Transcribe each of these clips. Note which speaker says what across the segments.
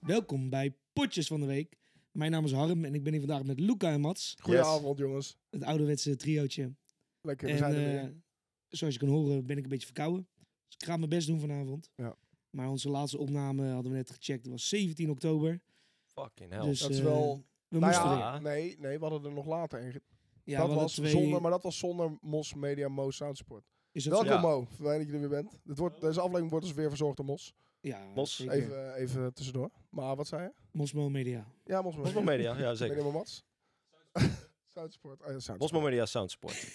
Speaker 1: Welkom bij Potjes van de Week. Mijn naam is Harm en ik ben hier vandaag met Luca en Mats.
Speaker 2: Goedenavond, jongens.
Speaker 1: Het ouderwetse triootje.
Speaker 2: Lekker, we
Speaker 1: En
Speaker 2: zijn er weer.
Speaker 1: eh, zoals je kan horen ben ik een beetje verkouden. Dus ik ga mijn best doen vanavond.
Speaker 2: Ja.
Speaker 1: Maar onze laatste opname hadden we net gecheckt. Dat was 17 oktober.
Speaker 3: Fucking hell.
Speaker 1: Dus
Speaker 2: dat is
Speaker 1: eh,
Speaker 2: wel-
Speaker 1: we
Speaker 2: Nou
Speaker 1: moesten
Speaker 2: ja,
Speaker 1: weer.
Speaker 3: weer.
Speaker 2: nee, nee, we hadden er nog later een. ge-
Speaker 1: Ja,
Speaker 2: dat
Speaker 1: we hadden
Speaker 2: was
Speaker 1: twee-
Speaker 2: zonder, maar dat was zonder Mos Media Mo Soundsport.
Speaker 1: Is dat
Speaker 2: Welkom
Speaker 1: zo?
Speaker 3: Ja.
Speaker 2: Mo, fijn dat je er weer bent. Dit wordt, deze aflevering wordt dus weer verzorgd door Mos.
Speaker 1: Ja,
Speaker 3: Mos,
Speaker 1: zeker.
Speaker 2: Even, eh, even tussendoor. Maar wat zei je?
Speaker 1: Mosmo Media.
Speaker 2: Ja, Mos
Speaker 3: Bosmo Media, ja
Speaker 2: Ben je
Speaker 3: zeker.
Speaker 2: Mats? Soundsport. Ah, ja, Soundsport.
Speaker 3: Bosmo Media Soundsport.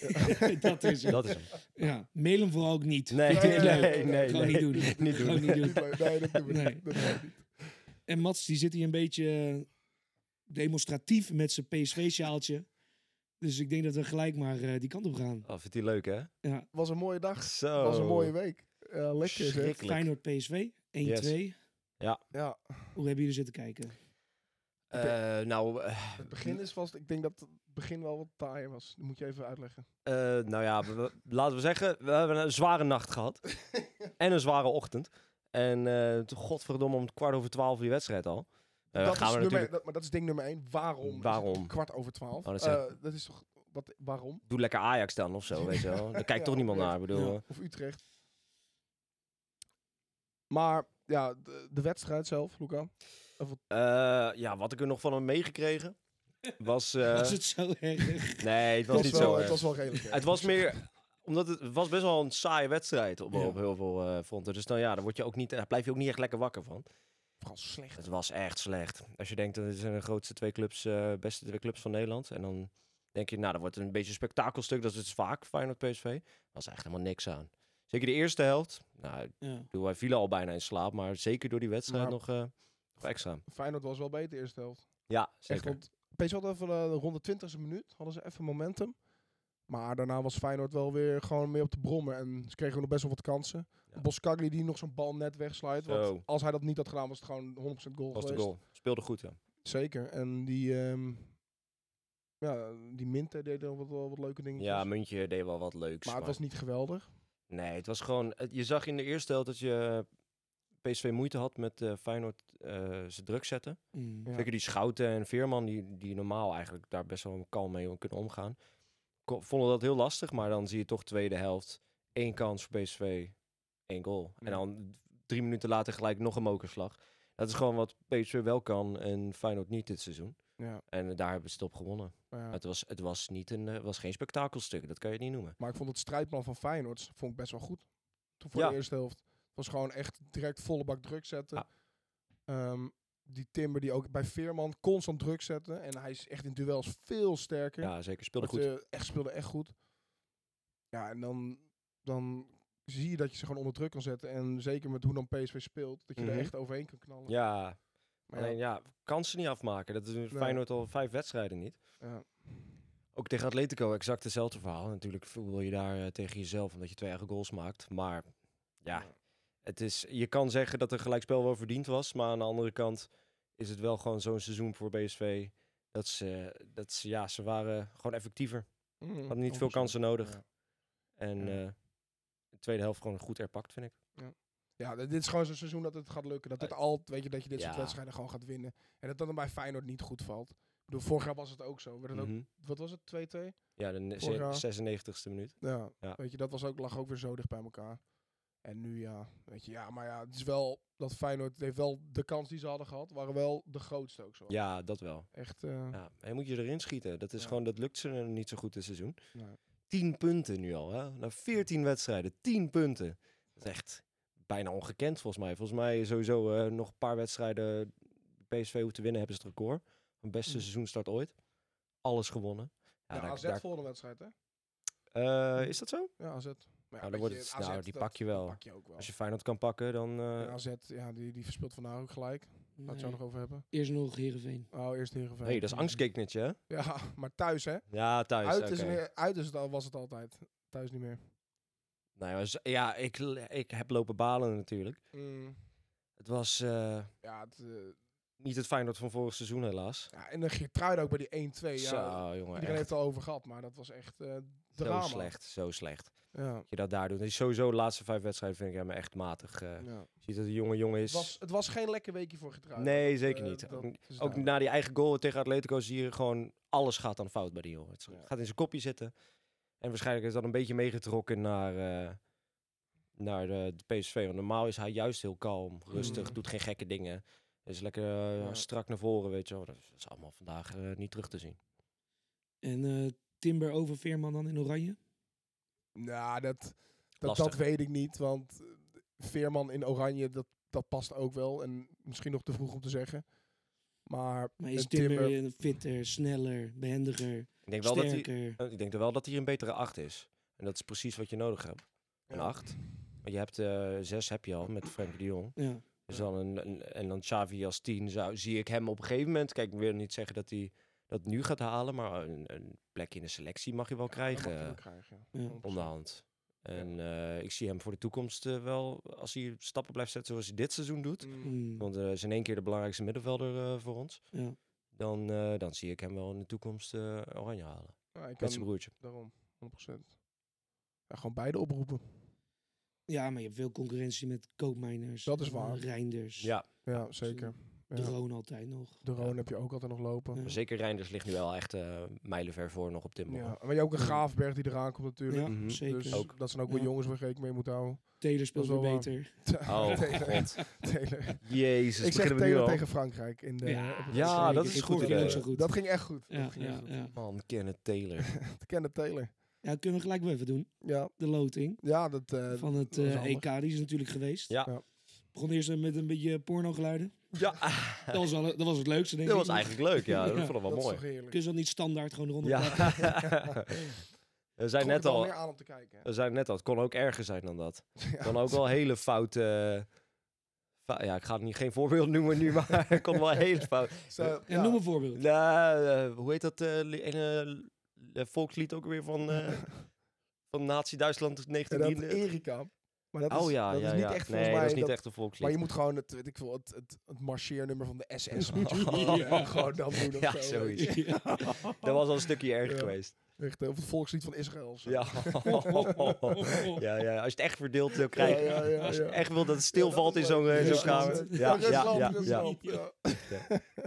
Speaker 1: dat is het.
Speaker 3: Dat is hem.
Speaker 1: Ja, mail hem vooral ook niet.
Speaker 3: Nee,
Speaker 1: Vind ik niet
Speaker 2: nee,
Speaker 1: leuk.
Speaker 2: nee, nee,
Speaker 1: Gewoon
Speaker 3: nee.
Speaker 1: niet doen.
Speaker 3: Niet
Speaker 1: Gewoon
Speaker 3: doen.
Speaker 1: niet doen.
Speaker 2: Niet leuk. Nee, dat doen we
Speaker 1: Nee.
Speaker 2: niet. Dat doen we niet.
Speaker 1: En Mats die zit hier een beetje eh, demonstratief met zijn PSV-sjaaltje. Dus ik denk dat we gelijk maar eh, die kant op gaan.
Speaker 3: Oh, vindt hij leuk, hè?
Speaker 1: Ja,
Speaker 2: was een mooie dag.
Speaker 3: Zo.
Speaker 2: was een mooie week. Eh, lekker zeg.
Speaker 3: Schrikkelijk.
Speaker 1: Feyenoord PSV 1-2.
Speaker 2: Ja,
Speaker 1: Hoe hebben jullie zitten kijken?
Speaker 3: Eh, nou, eh,
Speaker 2: het begin is vast... Ik denk dat het begin wel wat taai was. Dat moet je even uitleggen.
Speaker 3: eh, nou ja, we- we- laten we zeggen, we hebben een zware nacht gehad. en een zware ochtend. En eh, t- godverdomme, om kwart over twaalf die wedstrijd al. Eh, gaan
Speaker 2: dat is
Speaker 3: we
Speaker 2: nummer,
Speaker 3: natuurlijk...
Speaker 2: dat, maar dat is ding nummer één. Waarom? is het
Speaker 3: Waarom?
Speaker 2: kwart over twaalf.
Speaker 3: Oh, dat
Speaker 2: dat,
Speaker 3: is echt-
Speaker 2: dat is toch... Wat, waarom?
Speaker 3: Doe lekker Ajax dan of zo, weet je wel. Daar kijkt
Speaker 2: Ja,
Speaker 3: toch niemand
Speaker 2: oprecht.
Speaker 3: naar, ik bedoel.
Speaker 1: Ja.
Speaker 3: eh.
Speaker 2: Of Utrecht. Maar ja, de, de wedstrijd zelf, Luca.
Speaker 3: Eh, ja, wat ik er nog van heb meegekregen, was... eh,
Speaker 1: was het zo erg?
Speaker 3: Nee, het was,
Speaker 2: Het
Speaker 3: niet zo.
Speaker 2: wel, Het
Speaker 3: erg.
Speaker 2: was wel redelijk. hè.
Speaker 3: Het was meer omdat het, het was best wel een saaie wedstrijd op,
Speaker 1: Ja.
Speaker 3: op heel veel eh, fronten. Dus nou ja, daar, word je ook niet, daar blijf je ook niet echt lekker wakker van.
Speaker 2: Vooral slecht.
Speaker 3: Het was echt slecht. Als je denkt, dat zijn de grootste twee clubs, eh, beste twee clubs van Nederland. En dan denk je, nou, dat wordt een beetje een spektakelstuk. Dat is dus vaak, Feyenoord PSV. Er was echt helemaal niks aan. Zeker de eerste helft. Nou, ik
Speaker 1: Ja.
Speaker 3: bedoel, wij vielen al bijna in slaap. Maar zeker door die wedstrijd
Speaker 2: Maar-
Speaker 3: nog, eh, nog extra.
Speaker 2: Feyenoord was wel beter de eerste helft.
Speaker 3: Ja,
Speaker 2: Echt,
Speaker 3: zeker.
Speaker 2: want PSV had even eh, rond de twintigste minuut, hadden ze even momentum. Maar daarna was Feyenoord wel weer gewoon meer op de brommen. En ze kregen nog best wel wat kansen.
Speaker 3: Ja.
Speaker 2: Boskagli die nog zo'n bal net wegsluit.
Speaker 3: Zo.
Speaker 2: Want als hij dat niet had gedaan, was het gewoon 100% goal
Speaker 3: was de
Speaker 2: geweest.
Speaker 3: goal. Speelde goed, ja.
Speaker 2: Zeker. En die, ehm ja, die Minte deed er wat, wel wat leuke dingetjes.
Speaker 3: Ja,
Speaker 2: maar,
Speaker 3: Muntje deed wel wat leuks.
Speaker 2: het was niet geweldig.
Speaker 3: Nee, het was gewoon... het- Je zag in de eerste helft dat je eh, PSV moeite had met eh, Feyenoord eh ze druk zetten.
Speaker 1: Mm.
Speaker 2: Ja.
Speaker 3: Zeker die Schouten en Veerman, die, die normaal eigenlijk daar best wel kalm mee kunnen omgaan. Ko- Vonden dat heel lastig, maar dan zie je toch tweede helft. één kans voor PSV, één goal.
Speaker 2: Ja.
Speaker 3: En dan drie minuten later gelijk nog een mokerslag. Dat is gewoon wat PSV wel kan en Feyenoord niet dit seizoen.
Speaker 2: Ja,
Speaker 3: En eh, daar hebben ze het op gewonnen.
Speaker 2: maar ja.
Speaker 3: Het, was, het was, niet een, eh, was geen spektakelstuk, dat kan je het niet noemen.
Speaker 2: Maar ik vond het strijdplan van Feyenoord vond ik best wel goed. Toen voor
Speaker 3: Ja.
Speaker 2: de eerste helft. Het was gewoon echt direct volle bak druk zetten.
Speaker 3: Ja.
Speaker 2: Ehm, die Timber die ook bij Veerman constant druk zette. En hij is echt in duels veel sterker.
Speaker 3: Ja, zeker. Speelde
Speaker 2: Want,
Speaker 3: goed.
Speaker 2: eh, echt speelde echt goed. Ja, en dan, dan zie je dat je ze gewoon onder druk kan zetten. En zeker met hoe dan PSV speelt, dat je
Speaker 3: Mhm.
Speaker 2: er echt overheen kan knallen.
Speaker 3: Ja,
Speaker 2: Maar ja,
Speaker 3: alleen ja, kansen niet afmaken. Dat is Feyenoord al vijf wedstrijden niet.
Speaker 2: ja.
Speaker 3: Ook tegen Atletico exact hetzelfde verhaal. Natuurlijk voel je daar eh, tegen jezelf omdat je twee eigen goals maakt. Maar ja, het is, je kan zeggen dat er gelijkspel wel verdiend was. Maar aan de andere kant is het wel gewoon zo'n seizoen voor BSV. Dat ze, dat ze, ja, ze waren gewoon effectiever.
Speaker 2: Mm,
Speaker 3: Hadden niet veel
Speaker 2: 100%.
Speaker 3: kansen nodig.
Speaker 2: Ja.
Speaker 3: En
Speaker 2: Ja.
Speaker 3: eh, de tweede helft gewoon goed erpakt, vind ik.
Speaker 2: Ja, dit dit is gewoon zo'n seizoen dat het gaat lukken. Dat dit al, weet je, dat je dit soort
Speaker 3: Eh, Ja.
Speaker 2: wedstrijden gewoon gaat winnen. En dat dat dan bij Feyenoord niet goed valt. Ik bedoel, vorig jaar was het ook zo. Werd het ook,
Speaker 3: Mhm.
Speaker 2: wat was het, 2-2?
Speaker 3: Ja, de
Speaker 2: Vorig jaar.
Speaker 3: 96 e minuut.
Speaker 2: Ja,
Speaker 3: Ja.
Speaker 2: weet je, dat was ook, lag ook weer zo dicht bij elkaar. En nu ja, weet je, ja, maar ja, het is wel, dat Feyenoord heeft wel de kans die ze hadden gehad, waren wel de grootste ook zo.
Speaker 3: Ja, dat wel.
Speaker 2: Echt, eh,
Speaker 3: Ja, en moet je erin schieten. Dat is
Speaker 2: Ja.
Speaker 3: gewoon, dat lukt ze niet zo goed dit seizoen.
Speaker 2: Nee.
Speaker 3: 10 punten nu al, hè? Na 14 wedstrijden, 10 punten. Dat is echt bijna ongekend volgens mij. Volgens mij sowieso eh, nog een paar wedstrijden PSV hoeft te winnen, hebben ze het record. Een beste
Speaker 2: Mm.
Speaker 3: seizoenstart ooit. Alles gewonnen. Ja,
Speaker 2: ja,
Speaker 3: daar-
Speaker 2: AZ
Speaker 3: daar-
Speaker 2: voor de wedstrijd, hè?
Speaker 3: eh, is dat zo?
Speaker 2: Ja, AZ. Maar ja, weet
Speaker 3: dan wordt
Speaker 2: je,
Speaker 3: het- nou, die pak je wel.
Speaker 2: Pak je ook wel.
Speaker 3: Als je Feyenoord kan pakken, dan... eh,
Speaker 2: En AZ, ja, die, die verspeelt vandaag ook gelijk. Laat
Speaker 1: Nee.
Speaker 2: het zo nog over hebben.
Speaker 1: Eerst nog Heerenveen.
Speaker 2: Oh, eerst Heerenveen.
Speaker 3: hey, dat is angstgeknetje, hè?
Speaker 2: Ja, maar thuis, hè?
Speaker 3: Ja, thuis.
Speaker 2: uit,
Speaker 3: oké.
Speaker 2: is weer, uit is het al, was het altijd. Thuis niet meer.
Speaker 3: Nou ja, z- ja, ik, ik heb lopen balen natuurlijk. Het was eh,
Speaker 2: Mm, Ja, het, eh,
Speaker 3: niet het Feyenoord van vorig seizoen, helaas.
Speaker 2: ja, en dan Geertruiden ook bij die 1-2. Ja,
Speaker 3: Zo, jongen.
Speaker 2: iedereen
Speaker 3: echt.
Speaker 2: heeft het al over gehad, maar dat was echt eh, drama.
Speaker 3: Zo slecht, zo slecht.
Speaker 2: Ja.
Speaker 3: Dat je dat daar doet. Dus sowieso de laatste vijf wedstrijden vind ik hem echt matig. eh.
Speaker 2: Ja.
Speaker 3: Je ziet dat de jonge jongen
Speaker 2: Het,
Speaker 3: is.
Speaker 2: was, het was geen lekker weekje voor getrouwd.
Speaker 3: Nee,
Speaker 2: Dat,
Speaker 3: zeker
Speaker 2: eh,
Speaker 3: niet.
Speaker 2: dat
Speaker 3: Ook-
Speaker 2: is
Speaker 3: Ook
Speaker 2: duidelijk.
Speaker 3: na die eigen goal tegen Atletico zie je gewoon alles gaat dan fout bij die jongen. Het
Speaker 2: Ja.
Speaker 3: gaat in zijn kopje zitten. En waarschijnlijk is dat een beetje meegetrokken naar, eh, naar de, de PSV. Want normaal is hij juist heel kalm, rustig,
Speaker 2: Mm.
Speaker 3: doet geen gekke dingen. Is lekker eh,
Speaker 2: Ja.
Speaker 3: strak naar voren, weet je wel. Dat is- dat is allemaal vandaag eh, niet terug te zien.
Speaker 1: En eh, Timber over Veerman dan in oranje?
Speaker 2: Nou, dat, dat,
Speaker 3: Lastig.
Speaker 2: dat weet ik niet. Want eh, Veerman in oranje, dat, dat past ook wel. En misschien nog te vroeg om te zeggen. Maar,
Speaker 1: Maar is
Speaker 2: en
Speaker 1: Timber, eh, fitter, sneller, behendiger,
Speaker 3: Ik denk wel dat hij,
Speaker 1: sterker?
Speaker 3: eh, ik denk wel dat hij een betere acht is. En dat is precies wat je nodig hebt. Een
Speaker 2: Ja.
Speaker 3: acht. Want je hebt eh, zes heb je al met Frank de Jong.
Speaker 1: Ja.
Speaker 3: Dus
Speaker 2: Ja.
Speaker 3: dan een, een- en dan Xavi als tien zou, zie ik hem op een gegeven moment. Kijk, ik wil niet zeggen dat hij dat nu gaat halen, maar een, een plek in de selectie mag je wel
Speaker 2: Ja, dat
Speaker 3: krijgen
Speaker 2: mag je wel
Speaker 3: eh,
Speaker 2: krijgen,
Speaker 1: Ja.
Speaker 3: onderhand. En eh, ik zie hem voor de toekomst eh, wel, als hij stappen blijft zetten zoals hij dit seizoen doet.
Speaker 1: Mm.
Speaker 3: Want eh, hij is in één keer de belangrijkste middenvelder eh, voor ons.
Speaker 1: Ja.
Speaker 3: Dan, eh, dan zie ik hem wel in de toekomst eh, oranje halen.
Speaker 2: Ja, ik
Speaker 3: Met zijn
Speaker 2: kan
Speaker 3: broertje.
Speaker 2: daarom, 100%. Ja, gewoon beide oproepen.
Speaker 1: ja, maar je hebt veel concurrentie met koopmijners.
Speaker 2: Dat is
Speaker 1: eh,
Speaker 2: waar.
Speaker 1: Reinders.
Speaker 3: Ja,
Speaker 2: Ja, zeker.
Speaker 1: De
Speaker 2: Ja.
Speaker 1: Roon altijd nog.
Speaker 2: De Roon heb je ook altijd nog lopen.
Speaker 1: Ja.
Speaker 3: maar zeker Reinders ligt nu wel echt eh, mijlenver voor nog op dit moment.
Speaker 2: Ja, maar je hebt ook een Graafberg die eraan komt natuurlijk.
Speaker 1: Ja,
Speaker 3: Mhm.
Speaker 1: zeker.
Speaker 2: Dus
Speaker 3: Ook.
Speaker 2: dat zijn ook wel
Speaker 1: Ja.
Speaker 2: jongens waar je rekening mee moet houden.
Speaker 1: Taylor speelt
Speaker 2: Dat
Speaker 1: weer
Speaker 2: is wel
Speaker 1: beter.
Speaker 3: Oh,
Speaker 2: Taylor,
Speaker 3: god.
Speaker 2: Taylor.
Speaker 1: Dus
Speaker 3: Jezus,
Speaker 2: Ik zeg
Speaker 3: beginnen we nu
Speaker 2: Taylor
Speaker 3: al.
Speaker 2: tegen Frankrijk. In de,
Speaker 1: Ja,
Speaker 2: op het
Speaker 3: Ja,
Speaker 2: WK.
Speaker 1: zeker.
Speaker 3: dat is
Speaker 1: Ik
Speaker 3: goed
Speaker 1: vond het
Speaker 3: idee.
Speaker 1: ook zo goed.
Speaker 2: Dat ging echt goed.
Speaker 1: ja,
Speaker 2: dat ging echt
Speaker 1: ja,
Speaker 2: goed.
Speaker 1: ja.
Speaker 3: Man, Kenneth Taylor.
Speaker 2: te kennen Taylor.
Speaker 1: ja, kunnen we gelijk wel even doen.
Speaker 2: Ja,
Speaker 1: De loting
Speaker 2: ja dat... eh,
Speaker 1: van het
Speaker 2: dat is
Speaker 1: eh,
Speaker 2: handig.
Speaker 1: EK, die is natuurlijk geweest.
Speaker 3: Ja.
Speaker 2: Ja.
Speaker 1: Begon eerst eh, met een beetje pornogeluiden.
Speaker 3: Ja,
Speaker 1: Dat was, wel, dat was het leukste, denk
Speaker 3: dat
Speaker 1: ik.
Speaker 3: was eigenlijk leuk. Ja, dat
Speaker 1: Ja,
Speaker 3: vond ik wel
Speaker 2: dat
Speaker 3: mooi.
Speaker 2: is toch heerlijk.
Speaker 1: Kun je dat niet standaard gewoon eronder
Speaker 3: Ja.
Speaker 1: plakken?
Speaker 3: we zijn
Speaker 2: Trok
Speaker 3: net
Speaker 2: het wel
Speaker 3: al,
Speaker 2: meer aan om te kijken. hè?
Speaker 3: we zijn net al. Het kon ook erger zijn dan dat.
Speaker 2: Ja.
Speaker 3: Het kon ook wel hele fout. eh, fa- ja, ik ga het niet geen voorbeeld noemen nu, maar het kon wel hele fout.
Speaker 2: Zo,
Speaker 1: Ja,
Speaker 2: ja.
Speaker 1: noem een voorbeeld.
Speaker 3: Nou, eh, hoe heet dat eh, li- ene eh, volkslied ook weer van, eh, van Nazi-Duitsland
Speaker 2: En dat
Speaker 3: 19...
Speaker 2: Erika. Maar dat is,
Speaker 3: Oh ja,
Speaker 2: dat
Speaker 3: ja,
Speaker 2: is niet
Speaker 3: ja.
Speaker 2: echt volgens
Speaker 3: nee,
Speaker 2: mij...
Speaker 3: dat is niet
Speaker 2: dat-
Speaker 3: echt een volkslied.
Speaker 2: Maar je moet gewoon het, weet ik veel, het, het, het marcheernummer van de SS moet je
Speaker 3: Oh.
Speaker 2: gewoon- gewoon dan doen of
Speaker 3: Ja,
Speaker 2: zo.
Speaker 3: zoiets.
Speaker 2: weet je.
Speaker 3: Dat was al een stukje erger
Speaker 2: Ja.
Speaker 3: geweest.
Speaker 2: Echt, eh, of het volkslied van Israël. of zo.
Speaker 3: Ja. ja, ja, als je het echt verdeeld wil krijgen.
Speaker 2: Ja, ja, ja,
Speaker 3: Als je
Speaker 2: ja.
Speaker 3: echt wil dat het
Speaker 2: Ja, dat
Speaker 3: stilvalt
Speaker 2: is
Speaker 3: in
Speaker 2: leuk.
Speaker 3: zo'n eh, zo'n
Speaker 1: Rusland. Ja,
Speaker 3: kamer. Ja,
Speaker 2: Rusland,
Speaker 3: ja, ja, ja,
Speaker 2: Rusland, ja.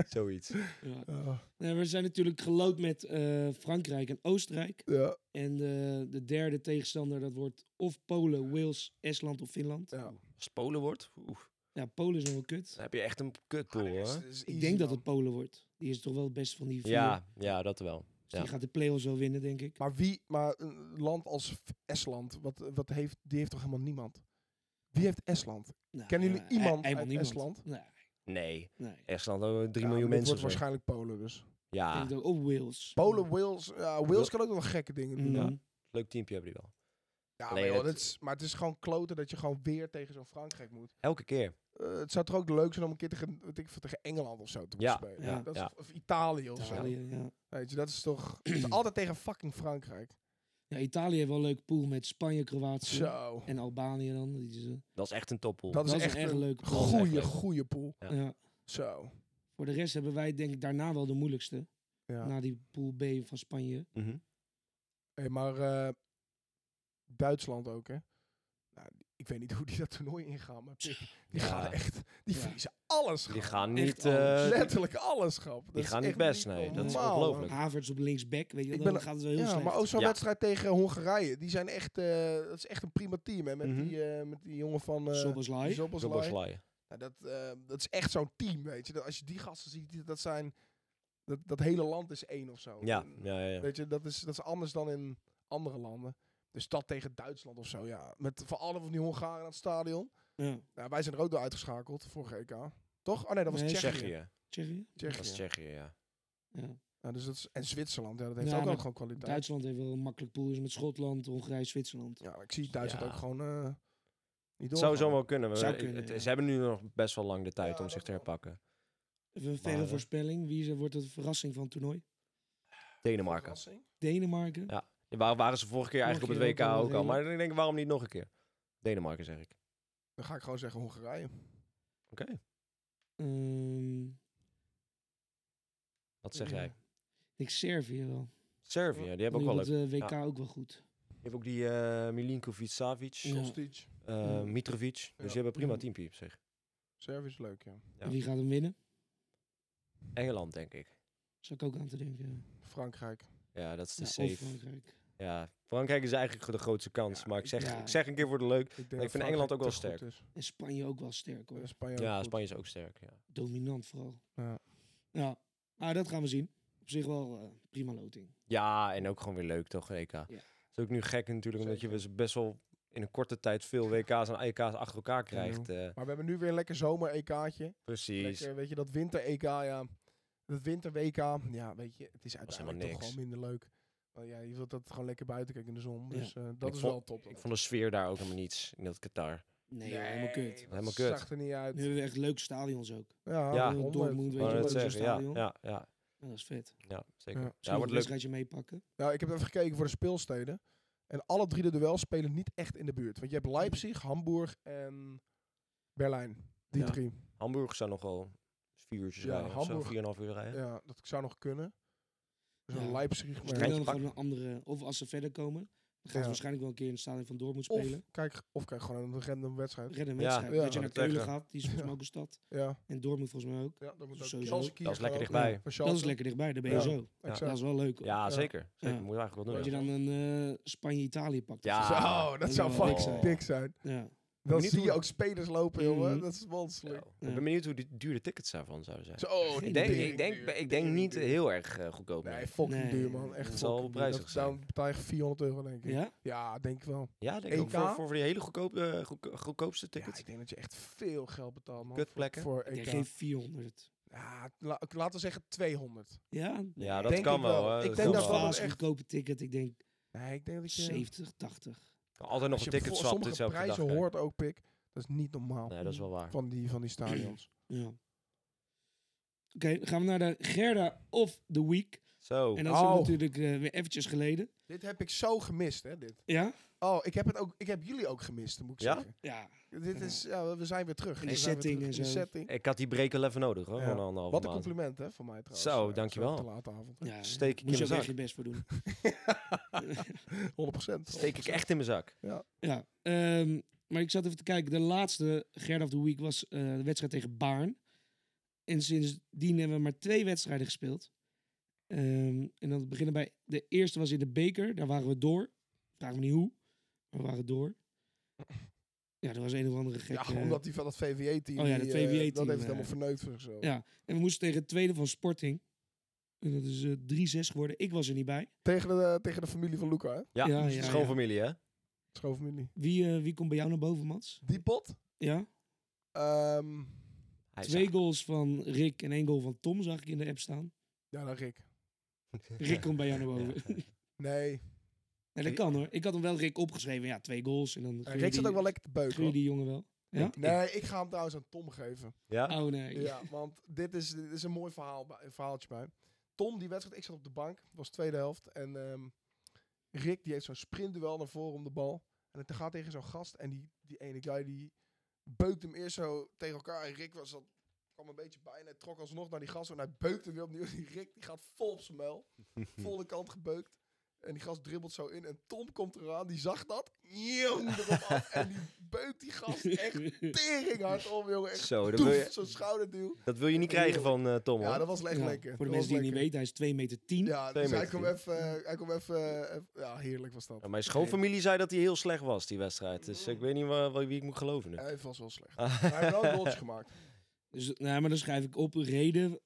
Speaker 3: zoiets.
Speaker 1: Ja.
Speaker 2: Ja,
Speaker 1: Nou, we zijn natuurlijk geloot met eh, Frankrijk en Oostenrijk.
Speaker 2: ja,
Speaker 1: En eh, de derde tegenstander, dat wordt of Polen, Wales, Estland of Finland.
Speaker 2: ja.
Speaker 3: Als het Polen wordt, oeh,
Speaker 1: Ja, Polen is nog wel kut.
Speaker 3: dan heb je echt een kutpool,
Speaker 2: Ah, dat is-
Speaker 3: hoor.
Speaker 2: dat is
Speaker 1: Ik
Speaker 2: easy,
Speaker 1: denk dat
Speaker 2: man.
Speaker 1: het Polen wordt. Die is toch wel het beste van die vier.
Speaker 3: Ja, ja, dat wel.
Speaker 1: Dus die
Speaker 3: ja.
Speaker 1: gaat de play-offs wel winnen, denk ik.
Speaker 2: Maar wie, maar een land als F- Estland, wat, wat heeft, die heeft toch helemaal niemand? Wie heeft Estland?
Speaker 1: Nou,
Speaker 2: Kennen jullie
Speaker 1: eh,
Speaker 2: iemand
Speaker 1: helemaal
Speaker 2: uit
Speaker 1: niemand.
Speaker 2: Estland?
Speaker 1: Nee,
Speaker 3: Nee,
Speaker 1: nee. Ik
Speaker 3: Estland over 3
Speaker 2: Ja,
Speaker 3: miljoen mensen.
Speaker 2: dit wordt
Speaker 3: of zo.
Speaker 2: waarschijnlijk Polen dus.
Speaker 3: Ja,
Speaker 1: denk dat ook Wales.
Speaker 2: Polen, Wales. Ja, Wales
Speaker 3: Wil-
Speaker 2: kan ook nog wel gekke dingen doen.
Speaker 1: Mhm.
Speaker 2: Ja,
Speaker 3: leuk teampje hebben die wel.
Speaker 2: maar,
Speaker 3: Alleen
Speaker 2: joh,
Speaker 3: het-
Speaker 2: dat is, maar het is gewoon kloten dat je gewoon weer tegen zo'n Frankrijk moet.
Speaker 3: Elke keer.
Speaker 2: Eh, het zou toch ook leuk zijn om een keer tegen, weet ik, veel, tegen Engeland of zo te
Speaker 3: Ja,
Speaker 2: moeten spelen.
Speaker 1: ja,
Speaker 2: dat is
Speaker 3: ja.
Speaker 2: toch- of Italië of zo.
Speaker 1: Italië, ja.
Speaker 2: Weet je, dat is toch het is altijd tegen fucking Frankrijk.
Speaker 1: ja. Italië heeft wel een leuke pool met Spanje, Kroatië
Speaker 2: Zo.
Speaker 1: en Albanië dan. Die is, eh,
Speaker 3: Dat is echt een toppool.
Speaker 2: Dat is
Speaker 1: Dat is
Speaker 2: echt
Speaker 1: een erg
Speaker 2: een
Speaker 1: leuke
Speaker 3: pool. Dat is
Speaker 2: goede,
Speaker 3: echt leuk.
Speaker 2: goede pool.
Speaker 3: Ja.
Speaker 1: ja.
Speaker 2: Zo.
Speaker 1: Voor de rest hebben wij denk ik daarna wel de moeilijkste.
Speaker 2: Ja.
Speaker 3: Nou.
Speaker 1: Na die pool B van Spanje.
Speaker 3: Mhm.
Speaker 2: Hey, maar eh, Duitsland ook, hè? Nou, ik weet niet hoe die dat toernooi ingaan, maar die, die
Speaker 3: Ja.
Speaker 2: gaan echt... Die
Speaker 1: Ja.
Speaker 2: verliezen alles,
Speaker 3: Die
Speaker 2: grap.
Speaker 3: gaan
Speaker 1: Echt
Speaker 3: niet...
Speaker 1: alles.
Speaker 3: eh,
Speaker 2: Letterlijk alles, grap. Dat
Speaker 3: die
Speaker 2: is
Speaker 3: gaan niet
Speaker 2: echt
Speaker 3: best, nee. Dat is
Speaker 2: normaal, man.
Speaker 3: ongelooflijk.
Speaker 1: Havertz op linksback, weet je,
Speaker 2: Ik
Speaker 1: dan
Speaker 2: ben-
Speaker 1: gaat het wel heel
Speaker 2: Ja,
Speaker 1: slecht.
Speaker 2: maar ook zo'n
Speaker 3: Ja.
Speaker 2: wedstrijd tegen Hongarije. Die zijn echt... eh, dat is echt een prima team, hè? Met,
Speaker 3: Mhm.
Speaker 2: die, eh, met die jongen van... eh
Speaker 1: Soboslai.
Speaker 2: die Szoboszlai.
Speaker 3: Dubbelslaaien.
Speaker 2: Nou, dat, eh, dat is echt zo'n team, weet je. Dat, als je die gasten ziet, die- dat zijn... Dat, dat hele land is één of zo.
Speaker 3: Ja,
Speaker 2: En-
Speaker 3: ja, ja. ja.
Speaker 2: Weet je, dat is, dat is anders dan in andere landen. Dus dat tegen Duitsland of zo, ja. Met voor alle van die Hongaren aan het stadion.
Speaker 1: Ja.
Speaker 2: Nou, wij zijn er ook door uitgeschakeld, vorige EK. Toch? Oh nee, dat was
Speaker 1: Nee,
Speaker 2: Tsjechië. Tsjechië.
Speaker 3: Tsjechië.
Speaker 1: Tsjechië?
Speaker 3: Dat is Tsjechië, ja.
Speaker 1: Ja.
Speaker 2: Ja, dus dat is, en Zwitserland, ja, dat heeft
Speaker 1: Ja,
Speaker 2: ook,
Speaker 1: maar
Speaker 2: ook gewoon kwaliteit.
Speaker 1: Duitsland heeft wel een makkelijk pool. Is met Schotland, Hongarije, Zwitserland.
Speaker 2: ja, maar ik zie Duitsland
Speaker 3: Ja.
Speaker 2: ook gewoon eh niet
Speaker 3: Het
Speaker 2: door.
Speaker 3: zou zo wel kunnen. maar
Speaker 1: Zou
Speaker 3: ik-
Speaker 1: kunnen,
Speaker 3: het-
Speaker 1: ja.
Speaker 3: Ze hebben nu nog best wel lang de tijd
Speaker 2: Ja,
Speaker 3: om
Speaker 2: dat
Speaker 3: zich te
Speaker 2: wel.
Speaker 3: herpakken.
Speaker 1: Even een verre
Speaker 3: Maar, eh,
Speaker 1: voorspelling. Wie is er, wordt de verrassing van het toernooi?
Speaker 3: Denemarken.
Speaker 1: Denemarken.
Speaker 3: Ja. Ja, waar waren ze vorige keer eigenlijk op
Speaker 1: Vorige
Speaker 3: het WK
Speaker 1: keer ook al
Speaker 3: ook al.
Speaker 1: heel-
Speaker 3: Maar ik denk, waarom niet nog een keer? Denemarken zeg ik.
Speaker 2: Dan ga ik gewoon zeggen Hongarije.
Speaker 3: Oké,
Speaker 1: Ehm,
Speaker 3: wat zeg
Speaker 1: ja.
Speaker 3: jij?
Speaker 1: Ik denk Servië wel.
Speaker 3: Servië, die hebben ook wel
Speaker 1: Vond
Speaker 3: leuk.
Speaker 1: ik
Speaker 3: Je
Speaker 1: dat, eh, WK ook wel goed.
Speaker 3: hebt ook die eh Milinkovic, Savic,
Speaker 1: Ja.
Speaker 2: Kostic.
Speaker 3: eh, Mitrovic. Dus
Speaker 2: Ja.
Speaker 3: die hebben prima
Speaker 1: Ja.
Speaker 3: teampie op zich.
Speaker 2: Service leuk, ja.
Speaker 3: Ja.
Speaker 1: Wie gaat hem winnen?
Speaker 3: Engeland, denk ik.
Speaker 1: Zou ik ook aan te denken. ja.
Speaker 2: Frankrijk.
Speaker 3: Ja, dat is de
Speaker 1: Ja,
Speaker 3: safe.
Speaker 1: of Frankrijk.
Speaker 3: Ja, Frankrijk is eigenlijk de grootste kans.
Speaker 2: Ja,
Speaker 3: maar ik
Speaker 2: ik-
Speaker 3: zeg,
Speaker 1: ja.
Speaker 3: ik zeg een keer voor de leuk.
Speaker 2: Ik, denk
Speaker 3: vind Engeland ook wel sterk.
Speaker 1: En Spanje ook wel sterk hoor.
Speaker 2: Spanje ook
Speaker 3: Ja,
Speaker 2: goed.
Speaker 3: Spanje is ook sterk. Ja.
Speaker 1: Dominant vooral.
Speaker 2: Ja.
Speaker 1: Ja, maar dat gaan we zien. Op zich wel eh, prima loting.
Speaker 3: ja, en ook gewoon weer leuk toch, EK. Het is ook nu gek natuurlijk, omdat je dus best wel in een korte tijd veel WK's en EK's achter elkaar krijgt. eh,
Speaker 2: Maar we hebben nu weer een lekker zomer-EK'tje.
Speaker 3: precies.
Speaker 2: Lekker, weet je, dat winter-EK, ja. Dat winter-WK, ja, weet je, het is
Speaker 3: helemaal
Speaker 2: uiteindelijk toch
Speaker 3: niks.
Speaker 2: gewoon minder leuk. Maar ja, je wilt dat het gewoon lekker buiten kijken in de zon.
Speaker 1: Ja.
Speaker 2: Dus eh, dat
Speaker 3: Ik
Speaker 2: is
Speaker 3: vond-
Speaker 2: wel top.
Speaker 3: Ik vond de sfeer daar ook helemaal niets in dat Qatar.
Speaker 1: Nee, joh, helemaal kut.
Speaker 3: Helemaal
Speaker 2: dat
Speaker 3: kut.
Speaker 2: zag er niet uit.
Speaker 1: Nu hebben we echt leuke stadions ook.
Speaker 2: Ja,
Speaker 3: Ja.
Speaker 1: Heel
Speaker 2: honderd.
Speaker 1: Dortmund, weet
Speaker 3: Wou
Speaker 1: je
Speaker 3: net
Speaker 1: wel, zo'n
Speaker 3: zeggen, ja,
Speaker 1: stadion.
Speaker 3: ja, ja,
Speaker 1: Ja, dat is vet.
Speaker 3: ja, zeker.
Speaker 2: Ja.
Speaker 3: Ja,
Speaker 1: Zullen we
Speaker 3: wordt
Speaker 1: een
Speaker 3: leuk.
Speaker 1: wedstrijdje meepakken?
Speaker 2: Nou, ik heb even gekeken voor de speelsteden. En alle drie de duels spelen niet echt in de buurt. Want je hebt Leipzig, Hamburg en Berlijn. Die
Speaker 3: Ja.
Speaker 2: drie.
Speaker 3: Hamburg zou nog wel vier uurtjes
Speaker 2: Ja,
Speaker 3: rijden of zo,
Speaker 2: Hamburg.
Speaker 3: vier en een half uur rijden.
Speaker 2: Ja, dat zou nog kunnen. Dus een
Speaker 1: Ja.
Speaker 2: Leipzig.
Speaker 1: Of
Speaker 2: maar-
Speaker 1: doen
Speaker 3: Strijdje
Speaker 1: dan
Speaker 3: pakken.
Speaker 1: gewoon een andere... Of als ze verder komen, dan gaan ze
Speaker 2: Ja.
Speaker 1: waarschijnlijk wel een keer in het stadion van Dortmund
Speaker 2: Of
Speaker 1: spelen.
Speaker 2: kijk, of kijk gewoon een random wedstrijd.
Speaker 1: Redden
Speaker 3: Ja,
Speaker 1: wedstrijd.
Speaker 2: ja,
Speaker 1: dat je naar
Speaker 3: dat
Speaker 1: Keulen
Speaker 3: zeggen.
Speaker 1: gaat, die is volgens
Speaker 2: Ja.
Speaker 1: mij ook een stad.
Speaker 2: Ja.
Speaker 1: En Dortmund volgens mij ook.
Speaker 2: ja, dat moet ook
Speaker 1: Sowieso.
Speaker 2: Schalke
Speaker 3: Dat is lekker
Speaker 2: gewoon.
Speaker 3: dichtbij.
Speaker 2: Ja, van
Speaker 1: Dat is
Speaker 2: Schalke.
Speaker 1: lekker dichtbij, daar ben je
Speaker 2: Ja.
Speaker 1: zo.
Speaker 2: Exact.
Speaker 1: Dat is wel leuk hoor.
Speaker 3: Ja,
Speaker 2: Ja.
Speaker 3: zeker. zeker.
Speaker 1: Ja.
Speaker 3: Moet je eigenlijk wel
Speaker 1: Dat je
Speaker 3: doen.
Speaker 1: dan een eh, Spanje-Italië pakt.
Speaker 3: Nou Ja.
Speaker 1: Zo.
Speaker 2: Zo, dat
Speaker 1: dat
Speaker 2: zou
Speaker 1: zou
Speaker 2: fucking
Speaker 1: dik
Speaker 2: dik zijn.
Speaker 1: zijn. ja.
Speaker 2: Dan
Speaker 3: Benieuwd
Speaker 2: zie
Speaker 3: hoe-
Speaker 2: je ook spelers lopen, jongen.
Speaker 1: Mhm.
Speaker 2: Dat is
Speaker 3: Zo.
Speaker 2: walselijk.
Speaker 3: Ik
Speaker 1: Ja.
Speaker 3: ben benieuwd hoe die dure tickets daarvan zouden zijn.
Speaker 2: Zo,
Speaker 1: Ik
Speaker 3: Ik
Speaker 2: die
Speaker 3: denk,
Speaker 2: tering
Speaker 3: ik denk,
Speaker 2: duur,
Speaker 3: ik denk
Speaker 2: tering
Speaker 3: niet
Speaker 2: duur.
Speaker 3: heel erg eh, goedkoop. nee.
Speaker 2: Nee, fucking
Speaker 1: Nee.
Speaker 2: duur, man. Echt
Speaker 3: Het zal
Speaker 2: fucking duur.
Speaker 3: prijzig
Speaker 2: Dat-
Speaker 3: zijn.
Speaker 2: Dan betaal je 400 euro, denk ik.
Speaker 1: Ja?
Speaker 2: Ja, denk ik wel.
Speaker 3: Ja, denk ik ook
Speaker 2: EK?
Speaker 3: voor, voor die hele goedkoop, eh, goedko- goedkoopste tickets.
Speaker 2: Ja, ik denk dat je echt veel geld betaalt, man.
Speaker 3: Kutplekken.
Speaker 2: Voor
Speaker 1: Ik denk
Speaker 2: EK.
Speaker 1: geen 400.
Speaker 2: Ja, la- laten we zeggen 200.
Speaker 1: Ja,
Speaker 3: Ja, dat
Speaker 2: Denk
Speaker 3: kan
Speaker 2: ik
Speaker 3: wel.
Speaker 2: wel.
Speaker 3: hè.
Speaker 2: Ik
Speaker 3: Dat
Speaker 2: denk
Speaker 3: kan
Speaker 1: Soms
Speaker 2: dat
Speaker 3: wel.
Speaker 2: wel
Speaker 1: was
Speaker 2: echt-
Speaker 1: een goedkope ticket, ik denk
Speaker 2: Nee, ik denk dat je...
Speaker 1: 70, 80.
Speaker 3: Altijd nog
Speaker 2: als
Speaker 3: een
Speaker 2: je
Speaker 3: ticket
Speaker 2: voor-
Speaker 3: swap
Speaker 2: sommige
Speaker 3: dezelfde dag.
Speaker 2: prijzen
Speaker 3: kijken.
Speaker 2: hoort ook, pik. Dat is niet normaal.
Speaker 3: Nee, dat is wel waar.
Speaker 2: Van die, van die stadions.
Speaker 1: Ja. Oké, dan gaan we naar de Gerda of the Week.
Speaker 3: Zo.
Speaker 1: En dat is
Speaker 2: Oh.
Speaker 1: natuurlijk eh, weer eventjes geleden.
Speaker 2: dit heb ik zo gemist, hè, dit.
Speaker 1: Ja?
Speaker 2: Oh, ik heb, het ook, ik heb jullie ook gemist, moet ik
Speaker 3: Ja?
Speaker 2: zeggen.
Speaker 1: Ja.
Speaker 2: Dit
Speaker 1: Ja.
Speaker 2: is, ja, we zijn weer terug.
Speaker 1: In de
Speaker 2: We zijn weer
Speaker 1: setting
Speaker 2: terug
Speaker 1: en
Speaker 2: in de
Speaker 1: zo.
Speaker 2: setting.
Speaker 3: Ik had die break al even nodig hoor.
Speaker 2: Ja.
Speaker 3: Gewoon een anderhalve
Speaker 2: Wat een
Speaker 3: maand.
Speaker 2: compliment, hè, van mij trouwens.
Speaker 3: Zo,
Speaker 2: Eh,
Speaker 3: dankjewel.
Speaker 2: Zo te late avond. hè.
Speaker 1: ja
Speaker 3: Steek ik
Speaker 1: Moest
Speaker 3: in
Speaker 1: je
Speaker 3: mijn
Speaker 1: ook echt
Speaker 3: zak.
Speaker 1: je best voor doen.
Speaker 2: 100%.
Speaker 3: Steek ik echt in mijn zak.
Speaker 1: Ja. ehm, maar ik zat even te kijken. De laatste Gerda of the Week was eh, de wedstrijd tegen Baarn. En sindsdien hebben we maar twee wedstrijden gespeeld. Ehm, en dan beginnen bij... De eerste was in de beker. Daar waren we door. Vraag me niet hoe. Maar we waren door. Ja, er was een of andere
Speaker 2: Ja,
Speaker 1: gekke...
Speaker 2: omdat die van dat VVE-team...
Speaker 1: eh. Oh ja, dat
Speaker 2: die, eh,
Speaker 1: VVE-team,
Speaker 2: Dat heeft het
Speaker 1: eh,
Speaker 2: helemaal verneukt voor zo.
Speaker 1: Ja. En we moesten tegen het tweede van Sporting. En dat is eh, 3-6 geworden. Ik was er niet bij.
Speaker 2: Tegen, de, tegen de familie van Luca, hè.
Speaker 3: Ja,
Speaker 1: Ja,
Speaker 3: dus
Speaker 1: ja,
Speaker 3: schoonfamilie hè.
Speaker 2: Schoonfamilie.
Speaker 1: Wie, eh, wie komt bij jou naar boven, Mats?
Speaker 2: Die pot?
Speaker 1: Ja?
Speaker 2: Ehm,
Speaker 3: Hij is
Speaker 1: Twee
Speaker 3: echt-
Speaker 1: goals van Rick en één goal van Tom zag ik in de app staan.
Speaker 2: ja, dan Rick.
Speaker 1: Rick komt bij jou naar boven.
Speaker 2: Nee.
Speaker 1: nee, dat kan hoor. Ik had hem wel Rick opgeschreven. Ja, twee goals. En dan
Speaker 2: Ja,
Speaker 1: gun je
Speaker 2: Rick zat
Speaker 1: die-
Speaker 2: ook wel lekker te beuken.
Speaker 1: gun je
Speaker 2: hoor.
Speaker 1: die jongen wel. Ja?
Speaker 2: Nee, ik ga hem trouwens aan Tom geven.
Speaker 3: Ja?
Speaker 1: Oh nee.
Speaker 2: Ja, want dit is, dit is een mooi verhaal, bij- een verhaaltje bij. Tom, die wedstrijd, ik zat op de bank. Het was tweede helft. En ehm, Rick, die heeft zo'n sprintduel naar voren om de bal. En het gaat tegen zo'n gast. En die, die ene guy, die beukt hem eerst zo tegen elkaar. En Rick was dat, kwam een beetje bij en hij trok alsnog naar die gast. En hij beukt hem weer opnieuw. Die Rick, die gaat vol op zijn muil. vol de kant gebeukt. En die gast dribbelt zo in. En Tom komt eraan, die zag dat. Jong, erop af. En die beukt die gast echt tering hard om, jongen. Echt
Speaker 3: Zo, dat wil,
Speaker 2: Toef,
Speaker 3: je,
Speaker 2: zo'n schouderduw.
Speaker 3: dat wil je niet krijgen van eh, Tom
Speaker 2: Ja,
Speaker 3: hoor.
Speaker 2: dat was echt
Speaker 1: Ja,
Speaker 2: lekker.
Speaker 1: Voor de
Speaker 2: Dat
Speaker 1: mensen die het niet
Speaker 2: was
Speaker 1: weten, hij is 2 meter 10.
Speaker 2: lekker. Ja,
Speaker 3: Twee
Speaker 2: dus hij
Speaker 3: meter
Speaker 2: kwam even... eh, Hij kwam even eh, even- ja, heerlijk was dat.
Speaker 3: Ja, Mijn schoonfamilie zei dat hij heel slecht was, die wedstrijd. Dus ik weet niet wa- wa- wie ik moet geloven nu.
Speaker 2: Hij was wel slecht. Maar hij heeft wel een goaltje gemaakt.
Speaker 1: Dus, nou, maar dan schrijf ik op reden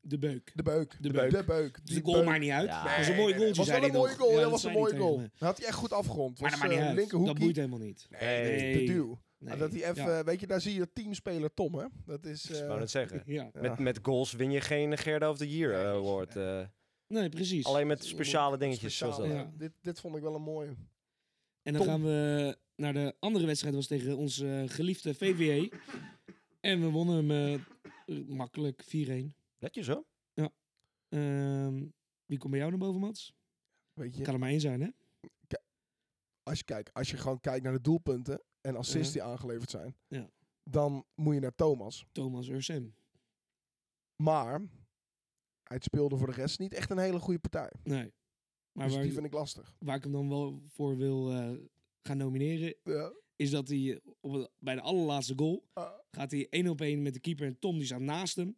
Speaker 1: de beuk.
Speaker 2: De beuk.
Speaker 1: De beuk.
Speaker 2: De beuk.
Speaker 1: Dus de
Speaker 2: Die
Speaker 1: goal
Speaker 2: beuk.
Speaker 1: maakt niet uit.
Speaker 3: Ja.
Speaker 1: Dat was een mooi goaltje,
Speaker 2: was
Speaker 1: zei
Speaker 2: wel een
Speaker 1: hij
Speaker 2: mooie
Speaker 1: nog.
Speaker 2: goal.
Speaker 1: Ja,
Speaker 2: Ja,
Speaker 1: dat
Speaker 2: was een
Speaker 1: zei hij
Speaker 2: mooie
Speaker 1: tegen
Speaker 2: goal.
Speaker 1: me.
Speaker 2: Dat had hij echt goed afgerond.
Speaker 1: Maar
Speaker 2: Was,
Speaker 1: dat maakt niet
Speaker 2: eh,
Speaker 1: uit. Dat
Speaker 2: linkerhoekie.
Speaker 1: boeit helemaal niet.
Speaker 2: Nee,
Speaker 1: Nee.
Speaker 2: de duw.
Speaker 1: Nee.
Speaker 2: Maar Dat hij even,
Speaker 1: Ja.
Speaker 2: weet je, daar zie je teamspeler Tom, hè? Dat is.
Speaker 3: Ik
Speaker 2: eh,
Speaker 3: wou net zeggen.
Speaker 1: Ja.
Speaker 3: Met, met goals win je geen Gerda of the Year eh, award. eh.
Speaker 1: Nee, precies.
Speaker 3: alleen met
Speaker 2: je
Speaker 3: speciale dingetjes
Speaker 2: speciaal,
Speaker 3: zoals dat.
Speaker 1: Ja.
Speaker 2: eh, dit, dit vond ik wel een mooie.
Speaker 1: En dan
Speaker 2: Tom.
Speaker 1: gaan we naar de andere wedstrijd. was tegen onze eh, geliefde VVE. En we wonnen hem eh, eh, makkelijk 4-1.
Speaker 3: Netjes hoor.
Speaker 1: Ehm, wie komt bij jou naar boven, Mats?
Speaker 2: Weet je,
Speaker 1: Kan er maar één zijn, hè?
Speaker 2: als je, kijkt, als je gewoon kijkt naar de doelpunten en assists die aangeleverd zijn,
Speaker 1: Ja.
Speaker 2: dan moet je naar Thomas.
Speaker 1: Thomas Ursem.
Speaker 2: Maar hij speelde voor de rest niet echt een hele goede partij.
Speaker 1: Nee. Maar
Speaker 2: Dus
Speaker 1: waar,
Speaker 2: die vind ik lastig.
Speaker 1: waar ik hem dan wel voor wil eh, gaan nomineren,
Speaker 2: Ja.
Speaker 1: is dat hij eh, op het- bij de allerlaatste goal
Speaker 2: Ah.
Speaker 1: gaat hij één op één met de keeper en Tom die staat naast hem.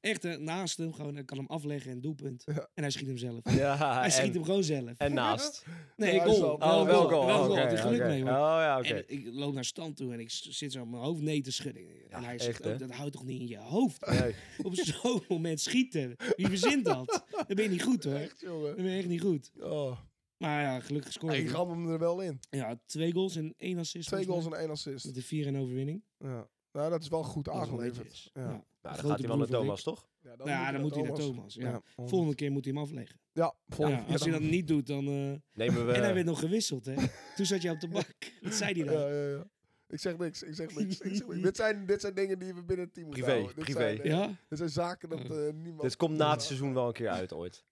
Speaker 1: Echt eh, naast hem, gewoon, hij kan hem afleggen en doelpunt.
Speaker 2: Ja.
Speaker 1: En hij schiet hem zelf.
Speaker 3: Ja,
Speaker 1: hij schiet
Speaker 3: Ah, en,
Speaker 1: hem gewoon zelf.
Speaker 3: en naast.
Speaker 1: Nee,
Speaker 2: Ah. Ja,
Speaker 1: goal.
Speaker 2: is wel-
Speaker 3: Oh, wel goal.
Speaker 1: Wel goal,
Speaker 3: Oké,
Speaker 1: had hij geluk
Speaker 3: oké.
Speaker 1: mee,
Speaker 3: Oh
Speaker 1: man.
Speaker 3: ja, oké.
Speaker 1: En ik loop naar stand toe en ik s- zit zo op mijn hoofd nee te schudden. en hij zegt
Speaker 3: echt, hè?
Speaker 1: ook, dat houdt toch niet in je hoofd?
Speaker 3: Nee.
Speaker 1: op zo'n moment schieten. Wie verzint dat? Dan ben je niet goed, hoor.
Speaker 2: Echt, jongen.
Speaker 1: Dan ben je echt niet goed.
Speaker 2: Oh.
Speaker 1: Maar Nou ja, gelukkig
Speaker 2: Hij
Speaker 1: gescoord.
Speaker 2: ram hem er wel in.
Speaker 1: Ja, twee goals en één assist.
Speaker 2: Twee goals
Speaker 1: volgens mij.
Speaker 2: en één assist.
Speaker 1: Met de vier en overwinning.
Speaker 2: Ja. Nou, dat is wel goed
Speaker 1: Dat is wel
Speaker 2: aangeleverd.
Speaker 1: netjes.
Speaker 2: Ja.
Speaker 1: Ja.
Speaker 3: Nou,
Speaker 1: Grote
Speaker 3: dan gaat hij wel
Speaker 1: broer
Speaker 3: naar
Speaker 1: van
Speaker 3: Thomas, toch?
Speaker 2: Ja,
Speaker 1: Nou ja, dan moet hij naar Thomas. Ja. Volgende keer moet hij hem afleggen.
Speaker 2: Ja,
Speaker 1: Ja,
Speaker 2: volgende keer
Speaker 1: als hij dat
Speaker 2: dan.
Speaker 1: niet doet, dan... eh,
Speaker 3: Nemen we...
Speaker 1: En hij werd nog gewisseld, hè. Toen zat jij op de bank. Wat zei hij
Speaker 2: Ja, Eh,
Speaker 1: dan?
Speaker 2: ja, ja. Ik zeg niks, ik zeg niks. ik zeg niks. Dit, zijn, dit zijn dingen die we binnen het team moeten
Speaker 3: Privé,
Speaker 2: houden. Dit
Speaker 3: privé.
Speaker 2: Zijn, eh,
Speaker 1: Ja?
Speaker 2: dit zijn zaken dat eh, niemand...
Speaker 3: Dit komt na het seizoen wel een keer uit ooit.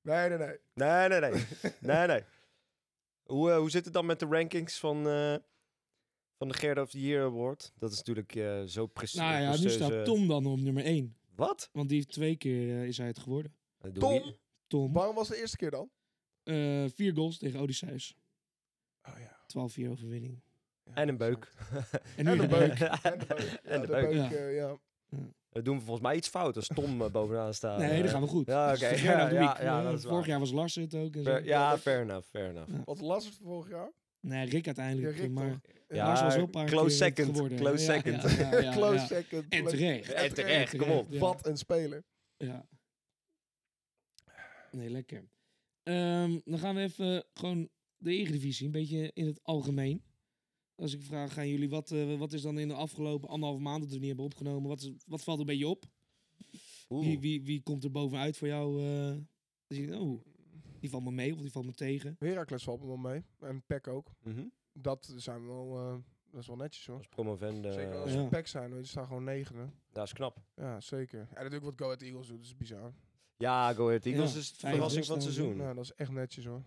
Speaker 2: Nee, nee, nee.
Speaker 3: Nee, nee, nee. nee, nee. Hoe, eh, hoe zit het dan met de rankings van, eh, van de Gerda of the Year Award? Dat is natuurlijk eh, zo precies.
Speaker 1: Nou ja, nu
Speaker 3: eh,
Speaker 1: staat Tom dan op nummer 1.
Speaker 3: Wat?
Speaker 1: Want die heeft twee keer eh, is hij het geworden.
Speaker 3: Dat doen we
Speaker 2: Tom,
Speaker 3: niet.
Speaker 1: Tom.
Speaker 2: waarom was de eerste keer dan?
Speaker 1: eh, vier goals tegen Odysseus.
Speaker 2: Oh ja.
Speaker 1: 12-4 overwinning.
Speaker 3: En een beuk.
Speaker 1: En nu
Speaker 2: En de
Speaker 1: een
Speaker 2: beuk.
Speaker 1: beuk.
Speaker 2: En de beuk.
Speaker 3: En
Speaker 2: Ja,
Speaker 3: de
Speaker 2: de
Speaker 3: beuk.
Speaker 1: Ja.
Speaker 2: beuk, eh, ja.
Speaker 3: Dat doen we volgens mij iets fout als Tom eh, bovenaan staat.
Speaker 1: Nee,
Speaker 3: Eh,
Speaker 1: dat gaan we goed.
Speaker 3: Ja,
Speaker 1: Dat is
Speaker 3: oké.
Speaker 1: de Gerda
Speaker 3: Ja,
Speaker 1: of the
Speaker 3: ja,
Speaker 1: Week.
Speaker 3: ja,
Speaker 1: Eh,
Speaker 3: dat is
Speaker 1: Vorig
Speaker 3: waar.
Speaker 1: jaar was Lars het ook. En zo.
Speaker 3: Fair- ja, fair enough, fair enough.
Speaker 2: Wat last was het vorig jaar?
Speaker 1: Nee, Rick uiteindelijk.
Speaker 2: Ja, Rick
Speaker 1: maar
Speaker 3: Ja,
Speaker 1: Lars was wel een paar
Speaker 3: close
Speaker 1: keer
Speaker 3: second,
Speaker 1: geworden.
Speaker 3: close
Speaker 1: Ja, ja,
Speaker 3: second.
Speaker 1: ja, ja, ja.
Speaker 2: Close second.
Speaker 1: En terecht.
Speaker 3: En terecht, kom op.
Speaker 1: Ja.
Speaker 2: Wat een speler.
Speaker 1: Ja. Nee, lekker. Ehm, dan gaan we even gewoon de Eredivisie, een beetje in het algemeen. Als ik vraag aan jullie, wat, eh, wat is dan in de afgelopen anderhalve maand dat we niet hebben opgenomen? Wat, is- wat valt een beetje op?
Speaker 3: Oeh.
Speaker 1: Wie, wie, wie komt er bovenuit voor jou? eh, dat je denkt, oh, die valt me mee of die valt me tegen.
Speaker 2: Heracles valt me wel mee. En Peck ook.
Speaker 3: Mhm.
Speaker 2: Dat zijn wel... eh, dat is wel netjes hoor.
Speaker 3: Als promovende.
Speaker 2: Zeker als
Speaker 3: eh,
Speaker 1: Ja.
Speaker 2: ze Peck zijn, want die staan gewoon negende.
Speaker 3: Dat is knap.
Speaker 2: Ja, zeker. En natuurlijk wat Go Ahead Eagles doet, dat is bizar.
Speaker 3: Ja, Go Ahead Eagles
Speaker 1: Ja,
Speaker 3: is de
Speaker 1: vijf
Speaker 3: verrassing van
Speaker 1: staan
Speaker 3: het
Speaker 1: ze.
Speaker 3: seizoen.
Speaker 2: Nou, dat is echt netjes hoor.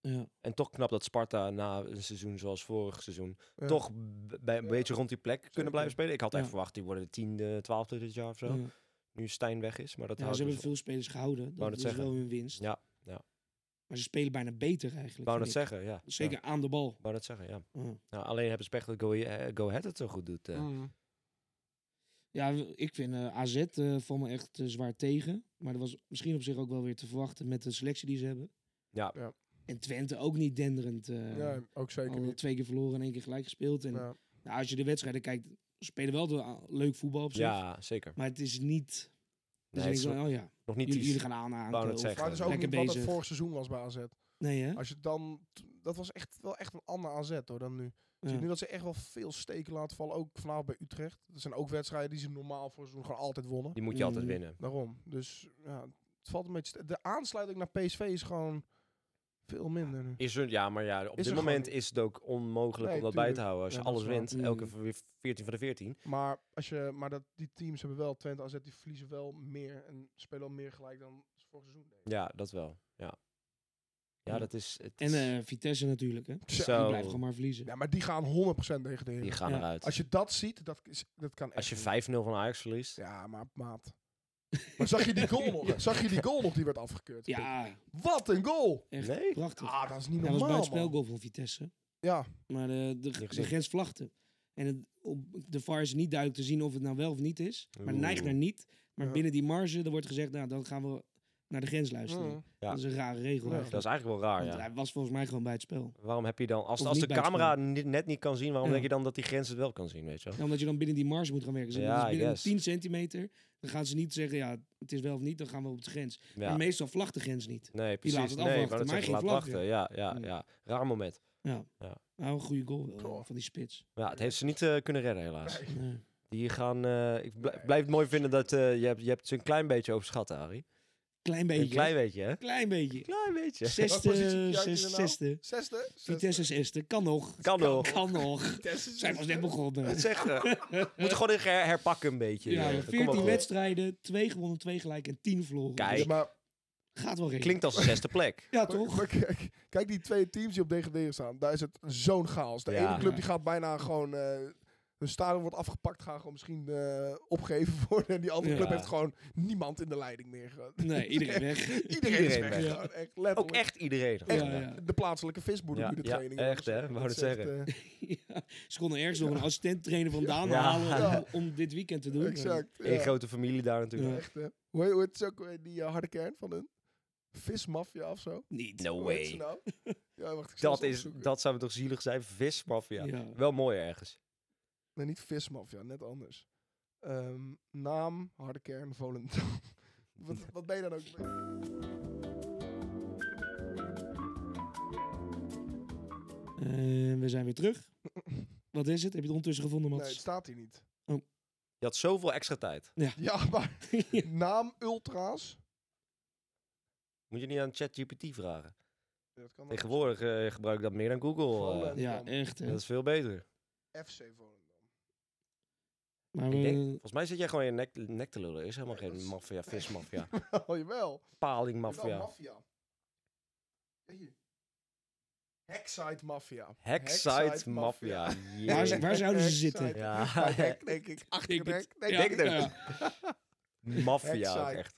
Speaker 1: Ja.
Speaker 3: En toch knap dat Sparta na een seizoen zoals vorig seizoen...
Speaker 2: Ja.
Speaker 3: toch b- bij een
Speaker 2: Ja.
Speaker 3: beetje rond die plek kunnen
Speaker 2: Zeker.
Speaker 3: blijven spelen. Ik had echt
Speaker 1: Ja.
Speaker 3: verwacht, die worden de tiende, twaalfde dit jaar of zo.
Speaker 1: Ja.
Speaker 3: Nu Stijn weg is, maar dat
Speaker 1: Ja,
Speaker 3: houdt
Speaker 1: ze hebben
Speaker 3: dus
Speaker 1: veel spelers gehouden.
Speaker 3: dat
Speaker 1: Dat is wel
Speaker 3: zeggen.
Speaker 1: hun winst.
Speaker 3: Ja, ja.
Speaker 1: Maar ze spelen bijna beter
Speaker 3: op.
Speaker 1: eigenlijk.
Speaker 3: Wou dat
Speaker 1: vind ik.
Speaker 3: zeggen, ja.
Speaker 1: Zeker
Speaker 3: Ja,
Speaker 1: aan de bal.
Speaker 3: wou dat zeggen, ja.
Speaker 1: Ja.
Speaker 3: Nou, alleen hebben ze pech dat Go, eh, Go Ahead het zo goed doet. eh.
Speaker 2: Mm.
Speaker 1: Oh, Ja, w- ik vind eh, AZ eh valt me echt eh, zwaar tegen. Maar dat was misschien op zich ook wel weer te verwachten met de selectie die ze hebben.
Speaker 3: Ja.
Speaker 2: Ja.
Speaker 1: En Twente ook niet denderend. eh
Speaker 2: ja, ook zeker
Speaker 1: al
Speaker 2: niet.
Speaker 1: twee keer verloren en één keer gelijk gespeeld. En
Speaker 2: Ja.
Speaker 1: nou, als je de wedstrijden kijkt, spelen wel de, a- leuk voetbal op zich.
Speaker 3: Ja, zeker.
Speaker 1: Maar het is niet... Dus
Speaker 3: Nee, het
Speaker 1: ik
Speaker 3: is
Speaker 1: denk,
Speaker 3: nog-
Speaker 1: oh ja,
Speaker 3: nog niet
Speaker 1: jullie,
Speaker 3: iets-
Speaker 1: jullie gaan
Speaker 3: wou
Speaker 1: aanhaken.
Speaker 3: net
Speaker 1: of-
Speaker 3: zeggen.
Speaker 2: Maar het is
Speaker 3: Echt,
Speaker 2: ook
Speaker 1: eh,
Speaker 2: niet
Speaker 1: lekker
Speaker 2: wat het
Speaker 1: bezig.
Speaker 2: vorig seizoen was bij AZ.
Speaker 1: Nee hè?
Speaker 2: Als je dan... Dat was echt wel echt een ander AZ hoor dan nu. Je
Speaker 1: Ja.
Speaker 2: ziet nu dat ze echt wel veel steken laten vallen. Ook vanavond bij Utrecht. Dat zijn ook wedstrijden die ze normaal voor het seizoen gewoon altijd wonnen.
Speaker 3: Die moet je altijd
Speaker 1: Mhm.
Speaker 3: winnen.
Speaker 2: Daarom. Dus ja, het valt een beetje... st- De aansluiting naar PSV is gewoon veel minder nu.
Speaker 3: Is er, ja, maar ja, op
Speaker 2: Is
Speaker 3: dit
Speaker 2: er
Speaker 3: moment
Speaker 2: gewoon-
Speaker 3: is het ook onmogelijk
Speaker 2: Nee,
Speaker 3: om dat bij te
Speaker 2: tuurlijk.
Speaker 3: houden. Als
Speaker 2: Ja,
Speaker 3: je
Speaker 2: dat
Speaker 3: alles
Speaker 2: is waar.
Speaker 3: wint, elke
Speaker 1: Mhm.
Speaker 3: v- weer 14 van de 14.
Speaker 2: Maar, als je, maar dat, die teams hebben wel... Twente AZ die verliezen wel meer. En spelen wel meer gelijk dan ze vorig seizoen deden.
Speaker 3: Ja, dat wel. Ja, ja
Speaker 1: Ja.
Speaker 3: dat is... Het
Speaker 1: En eh, Vitesse natuurlijk hè. Die
Speaker 2: Tja,
Speaker 3: Zo.
Speaker 1: blijft gewoon maar verliezen.
Speaker 2: Ja, maar die gaan 100% degraderen.
Speaker 3: die gaan
Speaker 1: Ja.
Speaker 3: eruit.
Speaker 2: Als je dat ziet, dat, is, dat kan echt
Speaker 3: Als je
Speaker 2: niet.
Speaker 3: 5-0 van Ajax verliest.
Speaker 2: Ja, maar maat. Maar zag je die goal nog?
Speaker 1: Ja.
Speaker 2: Zag je die goal nog die werd afgekeurd?
Speaker 1: Ja,
Speaker 2: Wat een goal!
Speaker 1: echt
Speaker 3: Nee?
Speaker 1: prachtig.
Speaker 2: Ah, dat is niet
Speaker 1: Ja, dat was
Speaker 2: normaal, man.
Speaker 1: buitenspelgoal van Vitesse.
Speaker 2: Ja,
Speaker 1: Maar eh, de, de,
Speaker 3: gezien.
Speaker 1: grens vlagte. En het, op de VAR is niet duidelijk te zien of het nou wel of niet is. Maar het neigt
Speaker 3: Oeh.
Speaker 1: naar niet. Maar
Speaker 2: Ja.
Speaker 1: binnen die marge, er wordt gezegd, nou, dan gaan we naar de grens luisteren.
Speaker 2: Mm.
Speaker 3: Ja.
Speaker 1: Dat is een rare regel
Speaker 2: Ja.
Speaker 1: eigenlijk.
Speaker 3: Dat is eigenlijk wel raar,
Speaker 1: Want
Speaker 3: ja.
Speaker 1: hij was volgens mij gewoon bij het spel.
Speaker 3: Waarom heb je dan... Als,
Speaker 1: Of
Speaker 3: als de
Speaker 1: niet bij het
Speaker 3: camera ni- net niet kan zien, waarom
Speaker 1: Ja.
Speaker 3: denk je dan dat die grens het wel kan zien, weet je wel?
Speaker 1: Ja, omdat je dan binnen die marge moet gaan werken. Dus
Speaker 3: Ja,
Speaker 1: dat is binnen
Speaker 3: I
Speaker 1: de
Speaker 3: guess.
Speaker 1: 10 centimeter. Dan gaan ze niet zeggen, ja, het is wel of niet. Dan gaan we op de grens.
Speaker 3: Ja.
Speaker 1: Maar meestal vlagt de grens niet.
Speaker 3: Nee,
Speaker 1: die
Speaker 3: precies.
Speaker 1: laat het
Speaker 3: nee,
Speaker 1: afwachten,
Speaker 3: maar dat
Speaker 1: maar
Speaker 3: zeggen,
Speaker 1: hij
Speaker 3: laat
Speaker 1: geeft
Speaker 3: wachten.
Speaker 1: vlaggen.
Speaker 3: Ja, ja,
Speaker 1: Mm.
Speaker 3: ja. Raar moment.
Speaker 1: Nou, een goede goal wel,
Speaker 2: Goh.
Speaker 1: van die spits.
Speaker 3: Ja, het heeft ze niet eh, kunnen redden, helaas.
Speaker 2: Nee.
Speaker 1: Nee.
Speaker 3: Die gaan... eh, ik bl- blijf het mooi vinden dat eh, je, hebt, je hebt ze een klein beetje overschat, Arie.
Speaker 1: Klein beetje.
Speaker 3: Een klein beetje, hè?
Speaker 1: Klein beetje.
Speaker 3: Klein beetje.
Speaker 1: Zesde,
Speaker 2: positie zit jij
Speaker 1: zes-
Speaker 2: hier nou?
Speaker 1: zesde.
Speaker 2: Zesde? Zesde.
Speaker 1: Vitesse zesde. Kan nog.
Speaker 3: Kan nog.
Speaker 1: Kan nog.
Speaker 2: Vitesse
Speaker 1: Zijn pas net
Speaker 2: zesde.
Speaker 1: begonnen.
Speaker 3: Zeg, we moeten gewoon her- herpakken een beetje.
Speaker 1: Ja,
Speaker 3: joh.
Speaker 1: ja,
Speaker 3: Kom maar
Speaker 1: 14
Speaker 3: op.
Speaker 1: wedstrijden, 2 gewonnen, 2 gelijk en 10 verloren.
Speaker 3: Kijk.
Speaker 2: Ja,
Speaker 1: Dus
Speaker 2: maar,
Speaker 1: gaat wel redelijk.
Speaker 3: Klinkt als de zesde plek.
Speaker 1: Ja,
Speaker 2: maar-
Speaker 1: toch?
Speaker 2: maar kijk, kijk die twee teams die op degraderen staan. Daar is het zo'n chaos. De
Speaker 3: Ja.
Speaker 2: ene club die gaat bijna gewoon... eh, hun stadion wordt afgepakt, gaan gewoon misschien eh, opgegeven worden. En die andere
Speaker 1: Ja.
Speaker 2: club heeft gewoon niemand in de leiding meer. gewoon.
Speaker 1: Nee, iedereen weg.
Speaker 2: Iedereen is
Speaker 3: Iedereen
Speaker 2: weg.
Speaker 3: weg.
Speaker 1: Ja.
Speaker 2: gewoon, Echt,
Speaker 3: Ook
Speaker 2: letterlijk.
Speaker 3: echt iedereen.
Speaker 1: Ja,
Speaker 2: Echt,
Speaker 3: Ja,
Speaker 1: ja.
Speaker 2: De plaatselijke visboer
Speaker 3: Ja,
Speaker 2: doet de
Speaker 3: ja,
Speaker 2: training.
Speaker 3: echt, hè? Wou
Speaker 2: Dat
Speaker 3: net
Speaker 2: is echt,
Speaker 3: zeggen.
Speaker 2: eh,
Speaker 1: Ja, ze konden ergens nog een assistent trainer vandaan
Speaker 3: Ja.
Speaker 1: halen om-
Speaker 2: Ja.
Speaker 1: om, dit weekend te doen.
Speaker 2: exact.
Speaker 3: Eén
Speaker 2: eh, ja.
Speaker 3: grote familie daar natuurlijk.
Speaker 1: Ja.
Speaker 2: Echt, hè? Hoe heet hoe heet het ook weer, die eh, harde kern van hun? Vismafia of zo?
Speaker 1: Niet.
Speaker 3: No
Speaker 2: Hoe heet ze
Speaker 3: way.
Speaker 2: nou? Ja, wacht, ik zal
Speaker 3: Oh, Dat,
Speaker 2: eens
Speaker 3: is,
Speaker 2: opzoeken.
Speaker 3: dat zou we toch zielig zijn? Vismafia.
Speaker 1: Ja.
Speaker 3: Wel mooi ergens.
Speaker 2: Nee, niet vismafia, net anders. Ehm, naam, harde kern, Volendam. wat, wat ben je dan ook?
Speaker 1: Eh, we zijn weer terug. Wat is het? Heb je het ondertussen gevonden,
Speaker 2: Nee, het
Speaker 1: Mats?
Speaker 2: staat hier niet.
Speaker 3: Je had zoveel extra tijd.
Speaker 2: Ja, maar
Speaker 1: Ja.
Speaker 2: naam Ultra's.
Speaker 3: Moet je niet aan ChatGPT vragen.
Speaker 2: Ja, dat kan ook.
Speaker 3: Tegenwoordig eh, gebruik ik dat meer dan Google. eh.
Speaker 2: Vallen.
Speaker 1: ja, echt. hè.
Speaker 3: dat is veel beter.
Speaker 2: FC Volendam.
Speaker 1: Maar
Speaker 3: Ik denk,
Speaker 1: we,
Speaker 3: volgens mij zit jij gewoon in je nek, nek te lullen. Er is helemaal
Speaker 2: Nee,
Speaker 3: geen
Speaker 2: dat is-
Speaker 3: maffia, vismafia.
Speaker 2: Oh, jawel. Jawel,
Speaker 3: Palingmafia.
Speaker 2: Mafia. Ja, hier. Hackside Mafia.
Speaker 3: Hackside Mafia.
Speaker 1: waar,
Speaker 3: Yeah.
Speaker 1: waar zouden ze
Speaker 2: Hackside.
Speaker 1: zitten?
Speaker 3: Ja.
Speaker 2: Bij het hek, denk ik. Achter
Speaker 1: Denk
Speaker 2: het
Speaker 1: het.
Speaker 2: hek.
Speaker 1: Ja,
Speaker 2: Nee, denk ik.
Speaker 1: ja.
Speaker 3: Mafia ook
Speaker 2: Hackside.
Speaker 3: echt.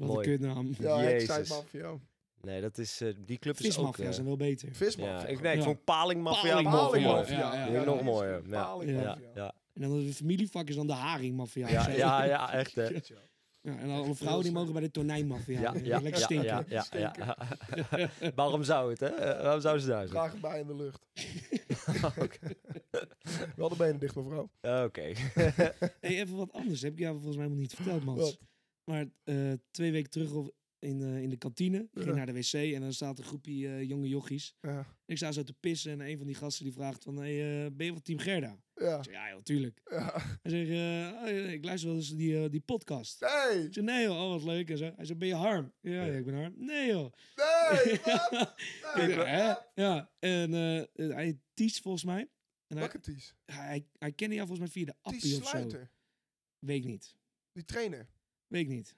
Speaker 1: Wat
Speaker 3: Mooi.
Speaker 1: een kutnaam.
Speaker 2: Ja, Hackside
Speaker 3: Jezus.
Speaker 2: Mafia.
Speaker 3: Nee, dat is, eh, die club is ook...
Speaker 1: Vismafia
Speaker 3: eh,
Speaker 1: zijn wel beter.
Speaker 2: Vismafia.
Speaker 3: ja, ik, nee, ik
Speaker 1: Ja.
Speaker 3: vond Palingmafia
Speaker 1: Paling-
Speaker 3: nog
Speaker 1: Paling-
Speaker 3: mooier.
Speaker 1: Mafia. Ja, ja.
Speaker 3: Die vind ik nog
Speaker 2: dat is
Speaker 3: mooier.
Speaker 2: een
Speaker 3: Ja. Ja,
Speaker 2: Palingmafia.
Speaker 3: ja.
Speaker 1: En dan de familievak is dan de haringmafia.
Speaker 3: Ja, ja, ja, echt hè.
Speaker 2: Shit, joh.
Speaker 1: Ja, en alle vrouwen die mogen bij de tonijnmafia.
Speaker 3: Ja, ja,
Speaker 1: Lekker
Speaker 3: ja,
Speaker 1: stinken.
Speaker 3: ja, ja, ja. Waarom zou het, hè? Eh, Waarom zou ze daar zijn?
Speaker 2: Draag hem bij in de lucht. Wel de benen dicht, mevrouw.
Speaker 3: Oké.
Speaker 1: Hey, even wat anders. Heb ik jou volgens mij nog niet verteld, Mats.
Speaker 2: Wat?
Speaker 1: Maar eh, twee weken terug of in, eh, in de kantine. Ik ging
Speaker 2: Ja.
Speaker 1: naar de wc en dan staat een groepje eh, jonge jochies.
Speaker 2: Ja.
Speaker 1: Ik sta zo te pissen en een van die gasten die vraagt van... Hey, eh, ben je van Team Gerda?
Speaker 2: Ja.
Speaker 1: Ik zeg, ja joh, tuurlijk.
Speaker 2: ja.
Speaker 1: Hij zegt, eh, oh, ja, ik luister wel eens die, eh, die podcast.
Speaker 2: Nee!
Speaker 1: Ik zeg, nee joh, oh, wat leuk. En zo. Hij zegt, ben je Harm? Ja, ja, ik ben Harm. Nee joh.
Speaker 2: Nee! Wat?
Speaker 1: Ik
Speaker 2: Nee,
Speaker 1: zeg, hè?
Speaker 2: wat?
Speaker 1: Ja, en eh, eh, hij teach volgens mij. En hij,
Speaker 2: Welke Ties?
Speaker 1: hij, hij kende jou volgens mij via de appie
Speaker 2: Ties
Speaker 1: of zo.
Speaker 2: Sluiter.
Speaker 1: Weet niet.
Speaker 2: Die trainer.
Speaker 1: Weet ik niet.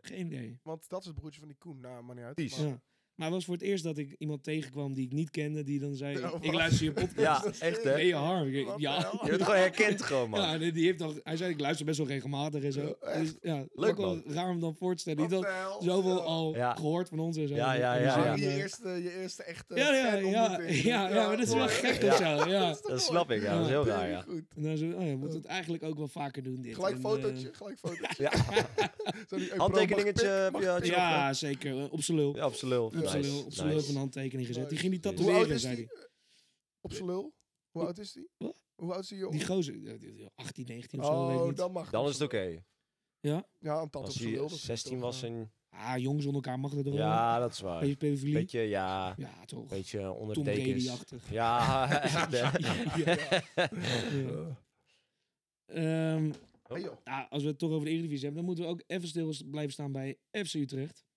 Speaker 1: Geen idee.
Speaker 2: Want dat is het broertje van die Koen. Nou, maar niet uit.
Speaker 3: Ties.
Speaker 2: Maar-
Speaker 1: Ja. Maar het was voor het eerst dat ik iemand tegenkwam die ik niet kende, die dan zei:
Speaker 2: Ja,
Speaker 1: Ik
Speaker 2: wat?
Speaker 1: luister je podcast.
Speaker 3: Ja, echt hè.
Speaker 1: Ben je Harm? Ik-
Speaker 2: Wat de
Speaker 1: ja.
Speaker 2: hel?
Speaker 3: Je bent gewoon herkend gewoon, man.
Speaker 1: Ja, en die heeft toch, hij zei: Ik luister best wel regelmatig en zo.
Speaker 2: Ja, echt?
Speaker 1: Dus, ja,
Speaker 3: Leuk,
Speaker 1: ook wel
Speaker 3: man.
Speaker 1: raar om dan voor te stellen. Die
Speaker 2: Wat
Speaker 1: had
Speaker 2: de hel?
Speaker 1: zoveel
Speaker 2: Ja.
Speaker 1: al
Speaker 3: Ja.
Speaker 1: gehoord van ons en zo.
Speaker 3: Ja, ja, ja,
Speaker 2: Maar
Speaker 1: En
Speaker 3: ja.
Speaker 1: die
Speaker 2: Je,
Speaker 1: zijn, eh,
Speaker 2: eerste, je eerste echte
Speaker 1: Ja, ja, ja,
Speaker 2: fanontmoeting.
Speaker 1: ja, ja, maar dat is wel
Speaker 2: mooi.
Speaker 1: gek
Speaker 3: Ja.
Speaker 1: of zo. Ja.
Speaker 2: toch
Speaker 3: Dat
Speaker 2: mooi?
Speaker 3: snap ik, ja. Dat is heel
Speaker 2: Ja,
Speaker 3: raar,
Speaker 2: heel
Speaker 3: ja.
Speaker 2: goed.
Speaker 1: En dan zo, oh ja, we moeten het eigenlijk ook wel vaker doen. Dit.
Speaker 2: Gelijk
Speaker 1: En,
Speaker 2: fotootje, gelijk fotootje.
Speaker 3: Ja,
Speaker 2: Zo die- hey, bro,
Speaker 3: handtekeningetje
Speaker 2: mag ik
Speaker 3: heb je had
Speaker 2: pik? Mag ik
Speaker 1: eh,
Speaker 3: je
Speaker 2: pik?
Speaker 3: nog, hè?
Speaker 1: ja, zeker. eh, Op z'n lul.
Speaker 3: Ja, op z'n lul.
Speaker 1: Op z'n
Speaker 3: Nice,
Speaker 1: lul. Op z'n lul
Speaker 3: nice.
Speaker 1: van handtekening gezet. Die ging die
Speaker 3: Nice.
Speaker 2: Hoe oud
Speaker 1: tatoeëren,
Speaker 2: is
Speaker 1: zei
Speaker 2: die?
Speaker 1: hij.
Speaker 2: Op z'n lul? Hoe oud is die?
Speaker 1: Wat?
Speaker 2: Hoe oud is die
Speaker 1: Die
Speaker 2: jongen?
Speaker 1: gozer, eh, die- die- 18, 19 of zo. weet ik
Speaker 2: Oh,
Speaker 1: niet.
Speaker 2: dan mag
Speaker 3: Dan
Speaker 2: op
Speaker 3: is het
Speaker 2: z'n
Speaker 3: oké.
Speaker 2: lul. Ja, een tand op
Speaker 3: Als
Speaker 2: z'n lul.
Speaker 3: hij
Speaker 2: dat is
Speaker 3: 16
Speaker 2: toch,
Speaker 3: was
Speaker 2: eh,
Speaker 3: en...
Speaker 1: Ah, jongens onder elkaar mag dat toch wel?
Speaker 3: Ja, dat is waar.
Speaker 1: Beetje pedofilie?
Speaker 3: Beetje, ja...
Speaker 1: Ja, toch.
Speaker 3: Beetje onder
Speaker 1: Tom
Speaker 3: dekens.
Speaker 1: Brady-achtig.
Speaker 3: Ja, echt hè.
Speaker 1: Ja.
Speaker 2: eh,
Speaker 1: Ehm,
Speaker 2: hey, joh.
Speaker 1: nou, als we het toch over de Eredivisie hebben, dan moeten we ook even stil blijven staan bij FC Utrecht.
Speaker 2: Ze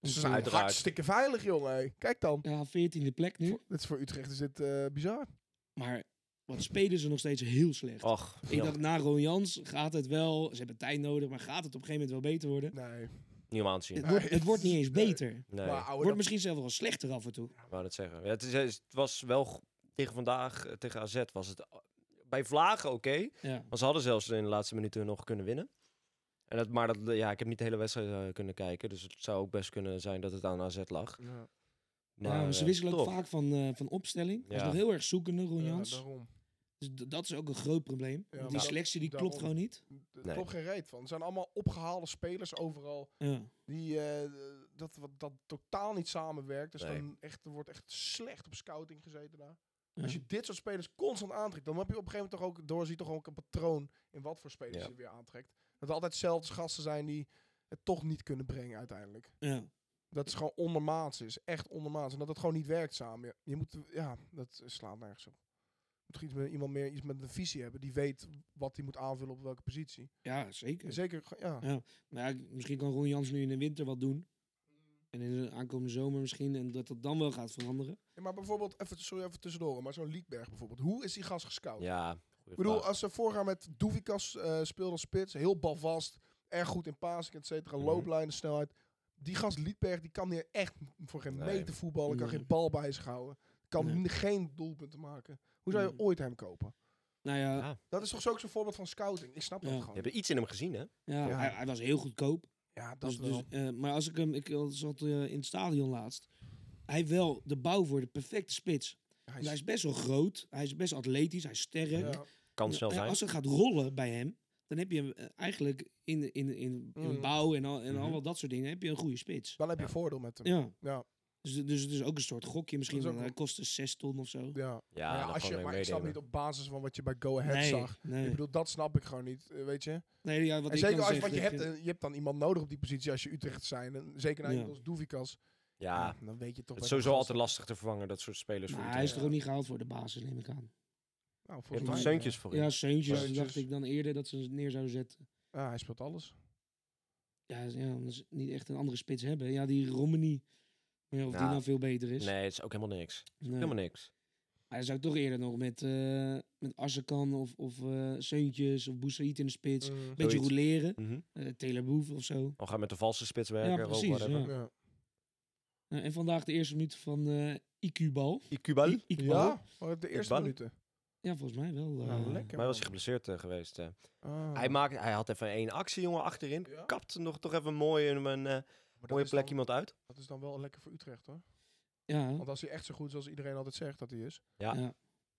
Speaker 1: Want,
Speaker 2: zijn
Speaker 1: eh,
Speaker 3: Uiteraard.
Speaker 2: dus, hartstikke veilig, jongen. hé. Kijk dan.
Speaker 1: Ja, 14e plek nu.
Speaker 2: Voor- Dit is voor Utrecht is dit eh, bizar.
Speaker 1: Maar wat spelen ze nog steeds heel slecht.
Speaker 3: Och,
Speaker 1: Ik
Speaker 3: niemand
Speaker 1: dacht, na Ron Jans gaat het wel... Ze hebben tijd nodig, maar gaat het op een gegeven moment wel beter worden?
Speaker 2: Nee.
Speaker 3: niemand aanzien.
Speaker 1: Het, wordt, het wordt niet eens
Speaker 2: Nee.
Speaker 1: beter.
Speaker 3: Nee,
Speaker 2: Maar
Speaker 3: ik
Speaker 2: ouwe,
Speaker 1: wordt misschien zelfs wel slechter af en toe.
Speaker 3: wou dat zeggen. Ja, het, is, het was wel go- tegen vandaag, eh, tegen AZ, was het eh, bij Vlagen oké.
Speaker 1: Ja.
Speaker 3: Maar ze hadden zelfs in de laatste minuten nog kunnen winnen. En dat, maar dat, ja, ik heb niet de hele wedstrijd eh, kunnen kijken. Dus het zou ook best kunnen zijn dat het aan AZ lag.
Speaker 2: dat- ja,
Speaker 1: Ja, maar ze
Speaker 3: eh,
Speaker 1: wisselen ook
Speaker 3: toch.
Speaker 1: vaak van, eh, van opstelling. Hij is
Speaker 3: Ja.
Speaker 1: nog heel erg zoekende, Ron
Speaker 2: ja,
Speaker 1: Jans.
Speaker 2: daarom.
Speaker 1: Dus d- dat is ook een groot probleem.
Speaker 2: Ja,
Speaker 1: Want die
Speaker 2: maar-
Speaker 1: selectie die klopt
Speaker 2: daarom.
Speaker 1: gewoon niet.
Speaker 2: Er
Speaker 3: Nee.
Speaker 2: klopt geen reet van. Er zijn allemaal opgehaalde spelers overal.
Speaker 1: Ja.
Speaker 2: Die, eh, dat, wat, dat totaal niet samenwerkt. Dus
Speaker 3: Nee.
Speaker 2: dan echt, er wordt echt slecht op scouting gezeten daar.
Speaker 1: Ja.
Speaker 2: Als je dit soort spelers constant aantrekt, dan heb je op een gegeven moment toch ook doorziet toch ook een patroon in wat voor spelers
Speaker 3: Ja.
Speaker 2: je weer aantrekt. Dat er altijd zelfs gasten zijn die het toch niet kunnen brengen uiteindelijk.
Speaker 1: Ja.
Speaker 2: Dat het gewoon ondermaats is. Echt ondermaats. En dat het gewoon niet werkt samen. Je, je moet, ja, dat slaat nergens op. Je moet toch iets met, iemand meer iets met een visie hebben. Die weet wat hij moet aanvullen op welke positie.
Speaker 1: ja, zeker.
Speaker 2: En zeker, ge- ja.
Speaker 1: Maar ja, misschien kan Ron Jans nu in de winter wat doen. En in de aankomende zomer misschien. En dat dat dan wel gaat veranderen.
Speaker 2: Ja, maar bijvoorbeeld, even, sorry even tussendoor, maar zo'n Liedberg bijvoorbeeld. Hoe is die gas gescout?
Speaker 3: Ja, goeie
Speaker 2: Ik bedoel, eh,
Speaker 3: vraag.
Speaker 2: als ze voorgaan met Doevikas eh speelde als spits, heel balvast, erg goed in passing, et cetera,
Speaker 3: Mhm.
Speaker 2: looplijnen, snelheid. Die gast Liedberg, die kan hier echt voor geen
Speaker 3: Nee.
Speaker 2: meter voetballen, kan
Speaker 1: Nee.
Speaker 2: geen bal bij zich houden, kan
Speaker 1: Nee.
Speaker 2: geen doelpunten maken. Hoe zou je
Speaker 1: Nee.
Speaker 2: ooit hem kopen?
Speaker 1: Nou ja, ja.
Speaker 2: Dat is toch zo ook zo'n voorbeeld van scouting. Ik snap
Speaker 1: Ja.
Speaker 2: dat
Speaker 3: Je
Speaker 2: gewoon.
Speaker 3: hebt iets in hem gezien, hè?
Speaker 2: Ja.
Speaker 1: Hij, hij was heel goedkoop.
Speaker 2: Ja, dat
Speaker 1: Dus,
Speaker 2: is wel.
Speaker 1: dus, eh, maar als ik hem, ik zat eh, in het stadion laatst. Hij heeft wel de bouw voor de perfecte spits.
Speaker 2: Hij
Speaker 1: Want hij
Speaker 2: is-
Speaker 1: is best wel groot, hij is best atletisch, hij is sterk.
Speaker 2: ja.
Speaker 3: Kan snel
Speaker 1: En
Speaker 3: zijn.
Speaker 1: Als het gaat rollen bij hem, dan heb je hem eh, eigenlijk in, de- in, in, in
Speaker 2: Mhm.
Speaker 1: bouw en al, en
Speaker 3: Mhm.
Speaker 1: al dat soort dingen, heb je een goede spits.
Speaker 2: Dan heb je
Speaker 3: Ja.
Speaker 2: voordeel met hem.
Speaker 1: Ja.
Speaker 2: Ja.
Speaker 1: Dus, dus het is ook een soort gokje misschien.
Speaker 2: Dat is ook
Speaker 1: want Hij kostte zes ton of zo.
Speaker 2: Ja.
Speaker 3: Ja,
Speaker 2: Maar ja,
Speaker 3: dan
Speaker 2: als je,
Speaker 3: gewoon
Speaker 2: maar
Speaker 3: mee
Speaker 2: ik snap
Speaker 3: meenemen.
Speaker 2: niet op basis van wat je bij Go Ahead
Speaker 1: nee,
Speaker 2: zag. Ik
Speaker 1: nee.
Speaker 2: bedoel, dat snap ik gewoon niet, eh, weet je.
Speaker 1: nee ja, wat
Speaker 2: en
Speaker 1: ik
Speaker 2: zeker
Speaker 1: dan
Speaker 2: als,
Speaker 1: zeg,
Speaker 2: want je
Speaker 1: dat
Speaker 2: hebt, eh, je hebt dan iemand nodig op die positie als je Utrecht zijn. En zeker naar
Speaker 1: Ja.
Speaker 2: iemand als Doevikas.
Speaker 3: Ja,
Speaker 2: Dan weet je toch...
Speaker 3: het is
Speaker 2: wel
Speaker 3: sowieso
Speaker 2: dat-
Speaker 3: altijd lastig te vervangen, dat soort spelers. voor
Speaker 1: Maar hij
Speaker 3: Utrecht.
Speaker 1: is er ook niet gehaald voor de basis, neem ik aan.
Speaker 2: Nou,
Speaker 3: Je hebt
Speaker 2: volgens
Speaker 3: toch
Speaker 1: mij,
Speaker 3: zeuntjes voor
Speaker 1: Ja,
Speaker 3: hem.
Speaker 1: Seuntjes,
Speaker 2: Seuntjes.
Speaker 1: dacht ik dan eerder dat ze neer zouden zetten.
Speaker 2: mij. Ja, eh, ah, hij speelt alles.
Speaker 1: Ja, z- ja, anders niet echt een andere spits hebben. Ja, die Romani. Maar ja, of die
Speaker 3: Ja.
Speaker 1: nou veel beter is.
Speaker 3: Nee, het is ook helemaal niks.
Speaker 1: Nee.
Speaker 3: Helemaal niks.
Speaker 1: Maar dan zou ik toch eerder nog met, eh met Assekan of, of eh Seuntjes of Boussaïd in de spits.
Speaker 2: Mm.
Speaker 1: Een beetje
Speaker 3: Zoiets.
Speaker 1: roleren.
Speaker 3: Mhm.
Speaker 1: eh Teleboef of zo.
Speaker 3: We gaan met de valse spits werken. of
Speaker 1: precies,
Speaker 3: whatever.
Speaker 1: ja.
Speaker 2: Ja.
Speaker 1: Nou, en vandaag de eerste minuut van eh IQ-bal.
Speaker 3: Ikubal?
Speaker 1: IQ-bal? Ja?
Speaker 2: Ja, maar op de eerste
Speaker 3: ballen.
Speaker 2: minuten.
Speaker 1: volgens mij wel. eh.
Speaker 2: Nou, lekker.
Speaker 3: Mm. Maar hij was
Speaker 2: man.
Speaker 3: geblesseerd eh, geweest. eh.
Speaker 2: Ah.
Speaker 3: Hij, maakte, hij had even één actie, jongen, achterin.
Speaker 2: Ja.
Speaker 3: Kapte nog toch even mooi een, een eh,
Speaker 2: Maar dat
Speaker 3: mooie
Speaker 2: is
Speaker 3: plek
Speaker 2: dan-
Speaker 3: iemand uit.
Speaker 2: Dat is dan wel lekker voor Utrecht, hoor.
Speaker 1: Ja,
Speaker 2: Want als hij echt zo goed is als iedereen altijd zegt dat hij is.
Speaker 3: Hm. Ja.
Speaker 1: Ja.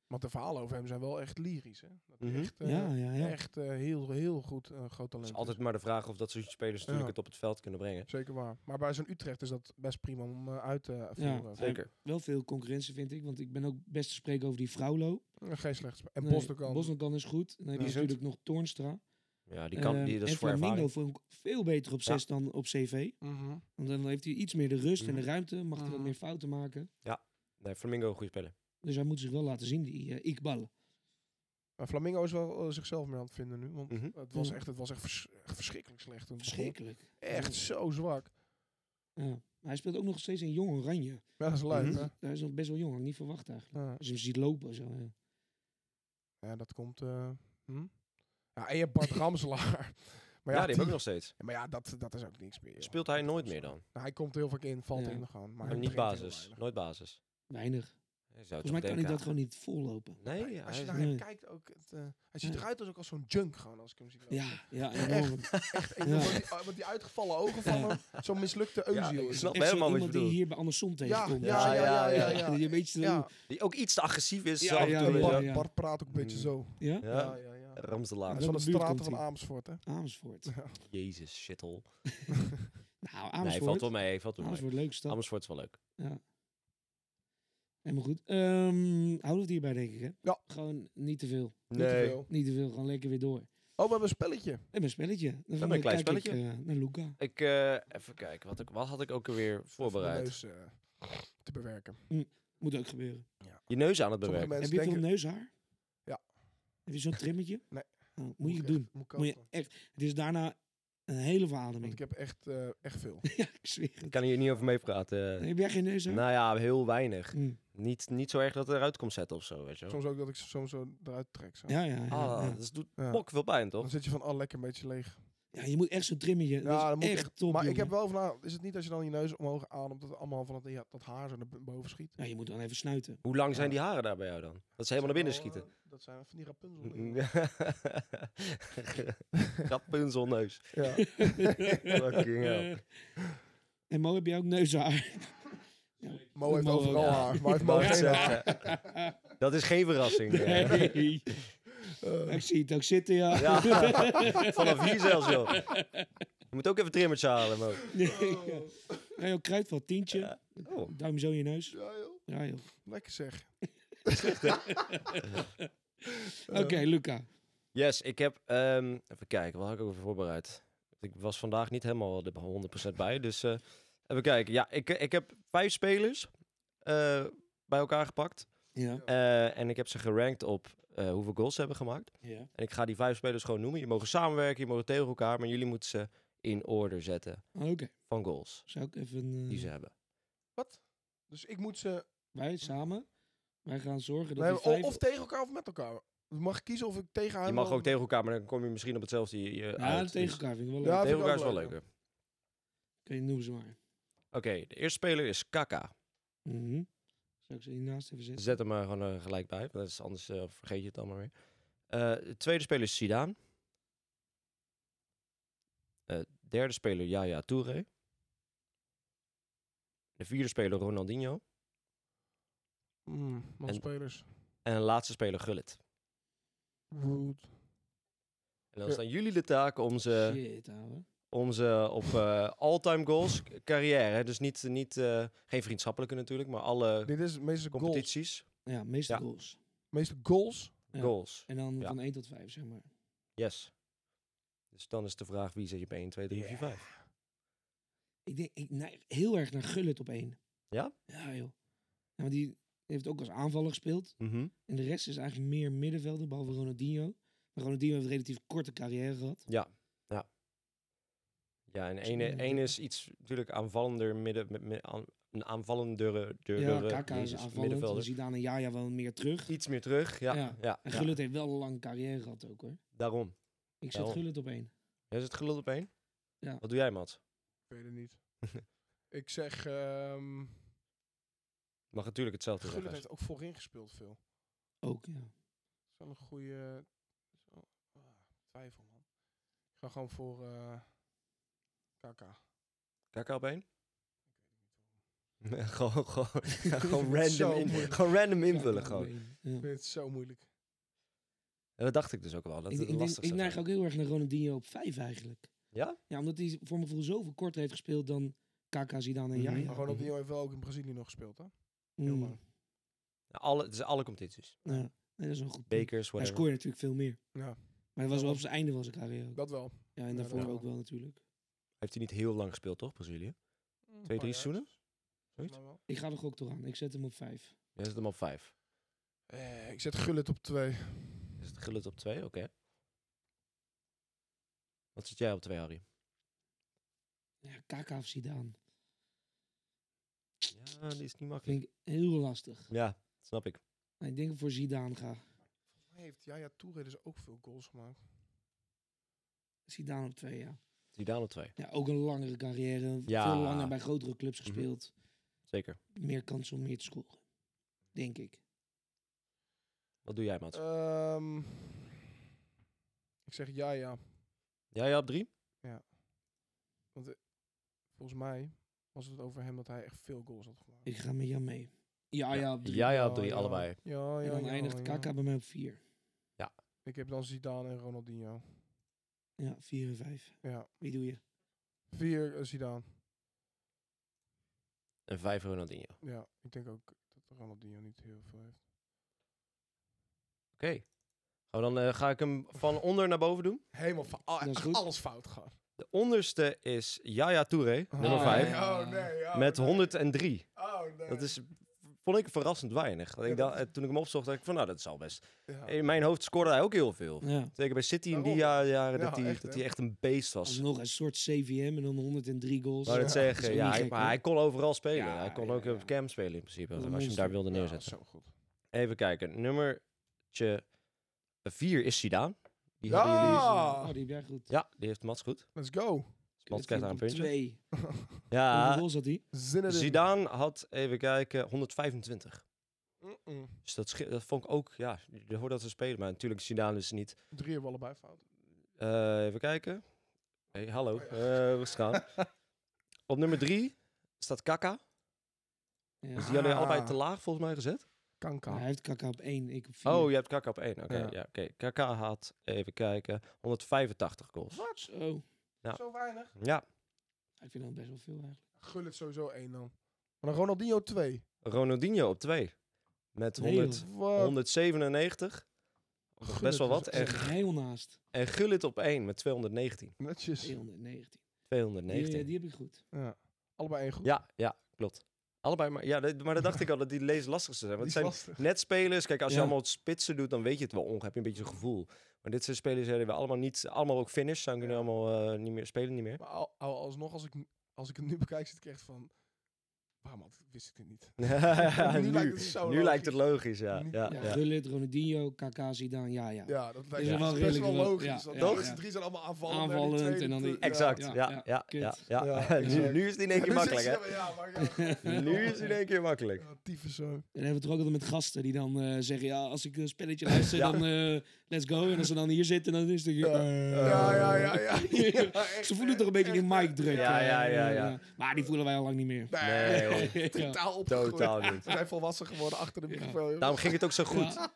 Speaker 2: Want de verhalen over hem zijn wel echt lyrisch, hè. Dat hij
Speaker 3: Mhm.
Speaker 2: echt, eh,
Speaker 1: ja, ja. ja.
Speaker 2: echt eh, heel, heel goed eh, groot
Speaker 3: Het
Speaker 2: talent
Speaker 3: is
Speaker 2: is.
Speaker 3: altijd maar de vraag of dat soort spelers natuurlijk
Speaker 2: Ja.
Speaker 3: het op het veld kunnen brengen.
Speaker 2: Zeker waar. Maar bij zo'n Utrecht is dat best prima om eh, uit te voeren.
Speaker 1: Zeker. Wel veel concurrentie vind ik. Want ik ben ook best te spreken over die Fraulo.
Speaker 2: Eh, Geen slecht spel. En
Speaker 1: Nee,
Speaker 2: Bosdogan.
Speaker 1: Bosdogan is goed. Dan heb
Speaker 2: Ja.
Speaker 1: je natuurlijk nog Toornstra.
Speaker 3: Ja, die
Speaker 2: eh,
Speaker 3: kan,
Speaker 1: Ehm,
Speaker 3: die, dat
Speaker 1: en
Speaker 3: is voor
Speaker 1: Flamingo
Speaker 3: ervaring.
Speaker 1: vond ik veel beter op 6 dan op CV.
Speaker 2: Mhm.
Speaker 1: Want dan heeft hij iets meer de rust en de
Speaker 3: Mhm.
Speaker 1: ruimte. Mag hij wat
Speaker 2: Mhm.
Speaker 1: meer fouten maken.
Speaker 3: Nee, Flamingo, goede speler.
Speaker 1: Dus hij moet zich wel laten zien, die eh Iqbal.
Speaker 2: Maar Flamingo is wel eh, zichzelf meer aan het vinden nu. Want
Speaker 3: Mhm.
Speaker 2: het was
Speaker 1: Ja.
Speaker 2: echt, het was echt, vers- echt verschrikkelijk slecht. toen het begon.
Speaker 1: Verschrikkelijk.
Speaker 3: Mm.
Speaker 2: Echt zo zwak.
Speaker 1: Ja. Maar hij speelt ook nog steeds in jong oranje.
Speaker 2: Ja, dat is leuk,
Speaker 3: Mhm.
Speaker 2: hè?
Speaker 1: Hij is nog best wel jong, had ik niet verwacht eigenlijk.
Speaker 2: Ja.
Speaker 1: Als je hem ziet lopen zo. eh, Ja.
Speaker 2: Ja, dat komt... eh, hm? Ja, en je hebt Bart Ramselaar. Maar
Speaker 3: ja,
Speaker 2: ja,
Speaker 3: die heb ik
Speaker 2: die-
Speaker 3: nog steeds.
Speaker 2: maar ja dat, dat is ook niks meer. joh.
Speaker 3: Speelt hij nooit meer dan?
Speaker 2: Nou, hij komt heel vaak in, valt
Speaker 1: Ja.
Speaker 2: in gewoon. Maar
Speaker 1: Maar
Speaker 2: hij
Speaker 3: niet
Speaker 2: begint heel
Speaker 3: basis.
Speaker 2: weinig.
Speaker 3: Nooit basis.
Speaker 1: Weinig.
Speaker 3: Je zou
Speaker 1: Volgens
Speaker 3: toch
Speaker 1: mij kan hij
Speaker 3: denken,
Speaker 1: dat gewoon niet vollopen.
Speaker 3: Nee, ja,
Speaker 2: Als je
Speaker 3: hij-
Speaker 2: naar hem
Speaker 1: Nee.
Speaker 2: kijkt ook... Het, eh, hij ziet
Speaker 1: Nee.
Speaker 2: eruit als, ook als zo'n junk gewoon, als ik hem zie lopen.
Speaker 1: Ja, ja enorm.
Speaker 2: Ik
Speaker 1: Ja.
Speaker 2: bedoel, met, die, met die uitgevallen ogen van
Speaker 1: Ja.
Speaker 2: hem, zo'n mislukte
Speaker 3: Ja,
Speaker 2: euziel.
Speaker 3: ik
Speaker 2: is
Speaker 3: snap
Speaker 2: het.
Speaker 1: Echt zo
Speaker 3: helemaal wat je
Speaker 1: iemand die
Speaker 3: bedoelt.
Speaker 1: hier bij Anderson tegenkomt.
Speaker 3: ja, ja, ja,
Speaker 2: ja.
Speaker 1: Die een beetje... Ja.
Speaker 2: Ja,
Speaker 3: die ook iets te agressief is.
Speaker 1: Ja,
Speaker 3: af en
Speaker 1: ja,
Speaker 3: toe
Speaker 2: en
Speaker 3: weer,
Speaker 1: ja.
Speaker 2: Bart, Bart praat ook een beetje
Speaker 3: Mm.
Speaker 2: zo.
Speaker 1: ja?
Speaker 3: Ja. Ja.
Speaker 2: ja, ja.
Speaker 3: Ramselaar.
Speaker 2: Dat
Speaker 1: Ja.
Speaker 2: is van
Speaker 1: Welke
Speaker 2: de
Speaker 1: buurt
Speaker 2: straten
Speaker 1: komt
Speaker 2: van
Speaker 1: hij?
Speaker 2: Amersfoort, hè?
Speaker 1: Amersfoort.
Speaker 3: Jezus, shithole.
Speaker 1: Nou,
Speaker 3: Nee,
Speaker 1: Amersfoort.
Speaker 3: valt wel mee, valt wel mee.
Speaker 1: Amersfoort, leuk stad.
Speaker 3: Amersfoort is wel leuk.
Speaker 1: Helemaal goed. Ehm, houden we het hierbij, denk ik, hè?
Speaker 2: Ja.
Speaker 1: Gewoon niet te veel.
Speaker 2: Niet te veel.
Speaker 1: Niet te veel, gewoon lekker weer door.
Speaker 2: Oh, we hebben een spelletje.
Speaker 1: En mijn spelletje. Dan
Speaker 3: een klein
Speaker 1: kijk ik,
Speaker 3: spelletje.
Speaker 1: eh, naar Luca.
Speaker 3: Ik, eh, even kijken, wat, ik, wat had ik ook alweer
Speaker 2: Om de
Speaker 3: voorbereid?
Speaker 2: neus, eh, te bewerken.
Speaker 1: Moet ook gebeuren.
Speaker 3: Je neus aan het
Speaker 2: Sommige
Speaker 1: Heb
Speaker 3: bewerken.
Speaker 2: mensen
Speaker 1: je veel
Speaker 2: denken...
Speaker 1: neushaar?
Speaker 2: Ja.
Speaker 1: Heb je zo'n trimmetje?
Speaker 2: Nee.
Speaker 1: Oh, moet je
Speaker 2: ik
Speaker 1: doen.
Speaker 2: echt- Moet ik
Speaker 1: Moet je
Speaker 2: kopen.
Speaker 1: echt. Het is daarna een hele
Speaker 2: Want ik
Speaker 1: verademing.
Speaker 2: heb echt, eh, echt veel.
Speaker 1: ja, ik zweer het.
Speaker 3: Ik kan hier niet over meepraten.
Speaker 1: Nee, heb jij geen neushaar?
Speaker 3: Nou ja, heel weinig.
Speaker 1: Hm.
Speaker 3: Niet, niet zo erg dat het eruit komt zetten of zo, weet je wel.
Speaker 2: Soms ook dat ik ze soms zo eruit trek. Zo.
Speaker 1: Ja, ja, ja.
Speaker 3: Ah,
Speaker 1: ja.
Speaker 3: dat doet
Speaker 2: Ja.
Speaker 3: bok veel pijn, toch?
Speaker 2: Dan zit je van, oh, lekker een beetje leeg.
Speaker 1: Ja, je moet echt zo'n trimmetje. dat
Speaker 2: Ja,
Speaker 1: is
Speaker 2: dat moet
Speaker 1: echt
Speaker 2: echt-
Speaker 1: top,
Speaker 2: maar ik
Speaker 1: jongen.
Speaker 2: heb wel van, nou, is het niet als je dan je neus omhoog ademt, dat het allemaal van dat, ja, dat haar zo naar b- boven schiet?
Speaker 1: Ja, Nou, je moet dan even snuiten.
Speaker 3: Hoe lang zijn
Speaker 2: Ja.
Speaker 3: die haren daar bij jou dan? Dat ze helemaal naar binnen schieten.
Speaker 2: eh, Dat zijn van die Rapunzel.
Speaker 3: Rapunzelneus.
Speaker 2: Ja.
Speaker 3: Fucking hell.
Speaker 1: en Mo, heb jij ook neushaar?
Speaker 2: Mo heeft
Speaker 1: Mo ook,
Speaker 2: overal
Speaker 1: ja.
Speaker 2: haar, maar heeft Mo
Speaker 3: Mag ik
Speaker 2: geen haar.
Speaker 3: zeggen. eh, Dat is geen verrassing. eh.
Speaker 1: Nee.
Speaker 2: Eh,
Speaker 1: Ik zie het ook zitten, ja.
Speaker 3: Ja, vanaf hier zelfs, joh. Je moet ook even trimmertje halen, man.
Speaker 1: Nee, ja. Ja, joh, kruidvat, tientje.
Speaker 3: Oh.
Speaker 1: Duim zo in je neus.
Speaker 2: Ja, joh.
Speaker 1: Ja, joh.
Speaker 2: Lekker zeg.
Speaker 1: Oké, Luca.
Speaker 3: Yes, ik heb... ehm, even kijken, wat had ik ook weer voorbereid? Ik was vandaag niet helemaal de 100% bij, dus... eh, even kijken. Ja, ik, ik heb vijf spelers eh, bij elkaar gepakt.
Speaker 1: Ja.
Speaker 3: Eh, en ik heb ze gerankt op eh, hoeveel goals ze hebben gemaakt.
Speaker 1: ja.
Speaker 3: En ik ga die vijf spelers gewoon noemen. Je mogen samenwerken, je mogen tegen elkaar, maar jullie moeten ze in orde zetten
Speaker 1: Oké,
Speaker 3: van goals
Speaker 1: zou ik even... eh,
Speaker 3: die ze hebben.
Speaker 2: Wat? Dus ik moet ze...
Speaker 1: Wij samen, wij gaan zorgen dat
Speaker 2: Nee,
Speaker 1: die
Speaker 2: o-
Speaker 1: vijf...
Speaker 2: of tegen elkaar of met elkaar. Dus mag ik kiezen of ik tegen haar...
Speaker 3: Je mag ook tegen elkaar, maar dan kom je misschien op hetzelfde je, je
Speaker 1: ja,
Speaker 3: uit.
Speaker 1: tegen
Speaker 3: Dus
Speaker 1: elkaar vind ik wel leuk.
Speaker 2: Ja,
Speaker 1: Oké,
Speaker 3: tegen
Speaker 2: vind ik
Speaker 3: elkaar
Speaker 2: ook
Speaker 3: is wel
Speaker 2: leuk,
Speaker 3: leuker.
Speaker 1: noem ze maar.
Speaker 3: Oké, de eerste speler is Kaka.
Speaker 1: Mhm. Zou ik ze hiernaast even zetten?
Speaker 3: Zet hem er gewoon eh, gelijk bij, want dat is anders eh, vergeet eh, je het allemaal weer. Eh, de tweede speler is Zidane. Eh, derde speler Yaya Touré. De vierde speler Ronaldinho.
Speaker 2: Mm, nog
Speaker 3: En-
Speaker 2: spelers.
Speaker 3: En de laatste speler Gullit.
Speaker 2: Ruud.
Speaker 3: En dan is aan jullie de taak om ze...
Speaker 1: Shit, ouwe.
Speaker 3: om ze op eh all-time goals k- carrière. hè. Dus niet, niet eh, geen vriendschappelijke natuurlijk, maar alle
Speaker 2: Dit is de meeste goals.
Speaker 3: competities.
Speaker 1: Ja, meeste
Speaker 3: Ja.
Speaker 1: goals.
Speaker 2: meeste goals.
Speaker 1: Ja.
Speaker 3: Goals.
Speaker 1: En dan
Speaker 3: Ja.
Speaker 1: van 1 tot 5, zeg maar.
Speaker 3: Yes. Dus dan is de vraag wie zet je op 1, 2, 3, 4, 5.
Speaker 1: Ik denk, ik neig heel erg naar Gullit op één.
Speaker 3: Ja?
Speaker 1: Ja, joh. Ja, maar die heeft ook als aanvaller gespeeld.
Speaker 3: Mhm.
Speaker 1: En de rest is eigenlijk meer middenvelder, behalve Ronaldinho. Maar Ronaldinho heeft een relatief korte carrière gehad.
Speaker 3: Ja, en
Speaker 1: is een
Speaker 3: één
Speaker 1: moeilijke.
Speaker 3: één is iets natuurlijk aanvallender midden, met, met- aan- een aanvallendere
Speaker 1: ja,
Speaker 3: deurdere-
Speaker 1: Kaka is
Speaker 3: jezus,
Speaker 1: aanvallend. Dan zie en Jaja wel meer terug.
Speaker 3: Iets meer terug, ja. ja.
Speaker 1: Ja. En
Speaker 3: ja.
Speaker 1: Gullit heeft wel een lange carrière gehad ook, hoor.
Speaker 3: Daarom.
Speaker 1: Ik zet
Speaker 3: Daarom.
Speaker 1: Gullit op één.
Speaker 3: Jij zit gelul op één?
Speaker 1: Ja.
Speaker 3: Wat doe jij, Mats?
Speaker 2: Ik weet het niet. ik zeg... ehm
Speaker 3: Mag natuurlijk hetzelfde
Speaker 2: Gullit
Speaker 3: zeggen.
Speaker 2: heeft ook voorin gespeeld veel.
Speaker 1: Ook, ja.
Speaker 2: Dat is wel een goede... ah, twijfel, man. Ik ga gewoon voor... eh Kaka.
Speaker 3: Kaka op één? gewoon, gewoon, gewoon,
Speaker 2: Zo
Speaker 3: random in-
Speaker 2: moeilijk.
Speaker 3: gewoon random invullen.
Speaker 1: Kaka
Speaker 3: Gewoon.
Speaker 1: op één, ja.
Speaker 2: Ik vind het zo moeilijk.
Speaker 3: Ja, dat dacht ik dus ook wel.
Speaker 1: Ik,
Speaker 3: Dat het
Speaker 1: ik, denk,
Speaker 3: lastig
Speaker 1: ik
Speaker 3: zou
Speaker 1: neig
Speaker 3: zijn.
Speaker 1: ook heel erg naar Ronaldinho op 5 eigenlijk.
Speaker 3: Ja?
Speaker 1: Ja, omdat hij voor mijn gevoel zoveel korter heeft gespeeld dan Kaka, Zidane en
Speaker 3: Mhm. Oh,
Speaker 1: Jaja.
Speaker 2: Maar gewoon op die heeft wel ook in Brazilië nog gespeeld, hè?
Speaker 1: Mm.
Speaker 2: heel lang.
Speaker 3: Ja, Nou, Alle, het is alle competities.
Speaker 1: Ja, nee, dat is een goed punt.
Speaker 3: Bekers,
Speaker 1: Hij
Speaker 3: whatever.
Speaker 1: scoorde natuurlijk veel meer.
Speaker 2: Ja,
Speaker 1: Maar dat was wel
Speaker 2: wel.
Speaker 1: op zijn einde van zijn carrière. ook.
Speaker 2: dat wel.
Speaker 1: Ja, en
Speaker 2: ja,
Speaker 1: daarvoor
Speaker 2: dat
Speaker 1: ook
Speaker 2: wel.
Speaker 1: wel natuurlijk.
Speaker 3: Heeft hij niet heel lang gespeeld, toch, Brazilië?
Speaker 2: Een
Speaker 3: Twee,
Speaker 2: paar
Speaker 3: drie
Speaker 2: jaar,
Speaker 3: seizoenen?
Speaker 2: volgens mij wel.
Speaker 1: Ik ga er ook toch aan. Ik zet hem op 5.
Speaker 3: Jij zet hem op vijf.
Speaker 2: Eh, ik zet Gullit op twee.
Speaker 3: Is het Gullit op twee? Oké. Wat zit jij op twee, Harry?
Speaker 1: Ja, Kaka of Zidane.
Speaker 3: Ja, die is niet makkelijk.
Speaker 1: Vind ik heel lastig.
Speaker 3: Ja, snap ik.
Speaker 1: Maar ik denk dat ik voor Zidane ga.
Speaker 2: Hij heeft Jaya Touré dus ook veel goals gemaakt.
Speaker 1: Zidane op 2, ja.
Speaker 3: Zidane op twee,
Speaker 1: Ja, ook een langere carrière.
Speaker 3: Ja. Mhm.
Speaker 1: Veel langer bij grotere clubs gespeeld.
Speaker 3: zeker.
Speaker 1: Meer kans om meer te scoren. Denk ik.
Speaker 3: Wat doe jij, Mats?
Speaker 2: Ehm ik zeg Jaya.
Speaker 3: jij op drie?
Speaker 2: Volgens mij was het over hem dat hij echt veel goals had gemaakt.
Speaker 1: Ik ga met jou mee. Ja, ah, ja. op drie.
Speaker 3: Jij op
Speaker 2: Ja,
Speaker 3: drie,
Speaker 2: ja.
Speaker 3: allebei.
Speaker 2: Ja, ja,
Speaker 1: en dan
Speaker 2: ja,
Speaker 1: eindigt
Speaker 2: ja.
Speaker 1: Kaka bij mij op 4.
Speaker 2: Ik heb dan Zidane en Ronaldinho.
Speaker 1: Ja, 4 en 5.
Speaker 2: Ja.
Speaker 1: Wie doe je?
Speaker 2: Vier eh, Zidane.
Speaker 3: En vijf Ronaldinho. Oké.
Speaker 2: Ja, ik denk ook dat Ronaldinho niet heel veel heeft.
Speaker 3: Nou, dan eh, ga ik hem van onder naar boven doen.
Speaker 2: Helemaal fout.
Speaker 1: Dat is goed.
Speaker 2: alles fout gaan.
Speaker 3: De onderste is Yaya Touré, nummer
Speaker 1: Ah,
Speaker 3: vijf.
Speaker 1: ja.
Speaker 2: Oh, nee, oh,
Speaker 3: Met
Speaker 2: nee.
Speaker 3: 103.
Speaker 2: Oh, nee.
Speaker 3: Dat is, vond ik verrassend weinig. Dat
Speaker 2: Ja,
Speaker 3: ik
Speaker 2: dat
Speaker 3: dacht- eh, toen ik hem opzocht, dacht ik van, nou, dat zal best.
Speaker 2: Ja.
Speaker 3: In mijn hoofd scoorde hij ook heel veel.
Speaker 1: Ja.
Speaker 3: Zeker bij City in die ja-
Speaker 2: Daarom.
Speaker 3: jaren, dat,
Speaker 2: Ja,
Speaker 3: hij,
Speaker 2: echt,
Speaker 3: dat
Speaker 2: hè?
Speaker 3: hij echt een beest was.
Speaker 1: Alsnog een soort CVM en dan 103 goals.
Speaker 3: Wou
Speaker 2: Ja,
Speaker 3: dat
Speaker 1: dat
Speaker 3: zeggen,
Speaker 1: is
Speaker 3: ja,
Speaker 1: niet
Speaker 3: hij,
Speaker 1: gek,
Speaker 3: maar
Speaker 1: hoor.
Speaker 3: hij kon overal spelen.
Speaker 1: Ja,
Speaker 3: hij kon
Speaker 1: ja,
Speaker 3: ook
Speaker 1: ja.
Speaker 3: op cam spelen in principe,
Speaker 1: Wat
Speaker 3: als
Speaker 1: een
Speaker 3: je hem
Speaker 1: monster.
Speaker 3: daar wilde
Speaker 2: Ja,
Speaker 3: neerzetten.
Speaker 2: zo goed.
Speaker 3: Even kijken, nummertje 4 is Zidane. Die
Speaker 2: Ja!
Speaker 3: hadden jullie...
Speaker 1: Oh, die heb jij goed.
Speaker 3: Ja, die heeft Mats goed.
Speaker 2: Let's go.
Speaker 3: Dus Mats krijgt daar een puntje.
Speaker 1: Twee. Hoeveel
Speaker 3: Ja,
Speaker 1: goals had hij?
Speaker 2: Zin erin.
Speaker 3: Zidane had, even kijken, 125.
Speaker 2: Mm-mm.
Speaker 3: Dus dat, schi- dat vond ik ook, ja, je hoort dat ze spelen. Maar natuurlijk, Zidane is niet.
Speaker 2: Drie hebben we allebei fout.
Speaker 3: Eh, even kijken. hey, hallo.
Speaker 2: Oh
Speaker 3: Eh rustig aan. Op nummer drie staat Kaka. Dus die hadden
Speaker 2: Ah.
Speaker 3: allebei te laag volgens mij gezet.
Speaker 2: Kanka.
Speaker 1: Maar Hij heeft Kaka op één, ik op vier.
Speaker 3: Oh, je hebt Kaka op één. Oké,
Speaker 2: Ja.
Speaker 3: ja, oké. Kaka had, even kijken, 185 goals.
Speaker 2: Wat?
Speaker 1: Zo.
Speaker 3: Ja.
Speaker 2: Zo weinig?
Speaker 3: Ja,
Speaker 1: Ik vind dat best wel veel eigenlijk.
Speaker 2: Gul het sowieso één dan. Maar dan Ronaldinho twee.
Speaker 3: Ronaldinho op twee. Met
Speaker 1: Nee,
Speaker 3: 100,
Speaker 1: joh.
Speaker 2: Wat? dus
Speaker 3: 197. Dat is
Speaker 2: Gullit
Speaker 3: best wel
Speaker 2: was
Speaker 3: wat.
Speaker 1: Dat
Speaker 3: En,
Speaker 1: is heel naast.
Speaker 3: en Gullit op één met 219.
Speaker 2: Netjes.
Speaker 1: 219. Die, eh,
Speaker 3: 219.
Speaker 1: die heb ik goed.
Speaker 2: Ja. Allebei één goed.
Speaker 3: Ja, ja, klopt. Allebei, maar, ja, dat- maar dat dacht ik al, dat die lees lastigste zijn.
Speaker 2: Die
Speaker 3: Want
Speaker 2: is
Speaker 3: het zijn
Speaker 2: lastig.
Speaker 3: net spelers, kijk, als je
Speaker 1: Ja.
Speaker 3: allemaal het spitsen doet, dan weet je het wel ongeveer, heb je een beetje een gevoel. Maar dit zijn spelers die we allemaal niet, allemaal ook finish, zijn kunnen
Speaker 2: Ja.
Speaker 3: allemaal eh, niet meer, spelen niet meer.
Speaker 2: Maar al, al- alsnog, als ik, nu- als ik het nu bekijk, zit ik echt van... waarom had, wist ik het niet?
Speaker 3: nu
Speaker 2: lijkt het zo
Speaker 3: nu lijkt het
Speaker 2: logisch.
Speaker 3: logisch, ja.
Speaker 2: Nu-
Speaker 3: ja,
Speaker 1: Ja,
Speaker 3: ja.
Speaker 1: Gullit, Ronaldinho, Kaká, Zidane, ja, ja.
Speaker 2: Ja, dat lijkt
Speaker 1: Is wel
Speaker 2: me best wel
Speaker 1: redelijk wel-
Speaker 2: logisch.
Speaker 1: ja,
Speaker 2: want
Speaker 1: ja,
Speaker 2: de
Speaker 1: ja.
Speaker 2: eerste drie zijn allemaal aanvallend.
Speaker 1: Aanvallend
Speaker 2: en die
Speaker 1: en dan die-
Speaker 3: Exact,
Speaker 1: Ja,
Speaker 3: ja, ja,
Speaker 1: ja,
Speaker 3: ja. ja,
Speaker 1: kut.
Speaker 2: Ja,
Speaker 3: nu,
Speaker 2: exact.
Speaker 3: nu is het in één keer makkelijk, hè?
Speaker 2: Ja, maar ja.
Speaker 3: Nu is het in één keer makkelijk.
Speaker 2: Ja, tyfus zo.
Speaker 1: En dan hebben we het er ook altijd met gasten die dan eh, zeggen, ja, als ik een spelletje luister,
Speaker 3: Ja.
Speaker 1: dan eh, let's go. En als ze dan hier zitten, dan is het... eh,
Speaker 2: Ja, ja, ja. ja.
Speaker 1: Ze voelen toch een beetje die mic druk.
Speaker 3: Ja,
Speaker 1: eh,
Speaker 3: ja, ja,
Speaker 1: eh,
Speaker 3: ja.
Speaker 1: Maar die voelen wij al lang niet meer.
Speaker 3: Nee,
Speaker 2: Nee,
Speaker 3: hoor.
Speaker 2: totaal opgegroeid.
Speaker 3: Totaal niet.
Speaker 2: We zijn volwassen geworden achter de microfoon. joh.
Speaker 3: Daarom ging het ook zo goed.
Speaker 1: Ja.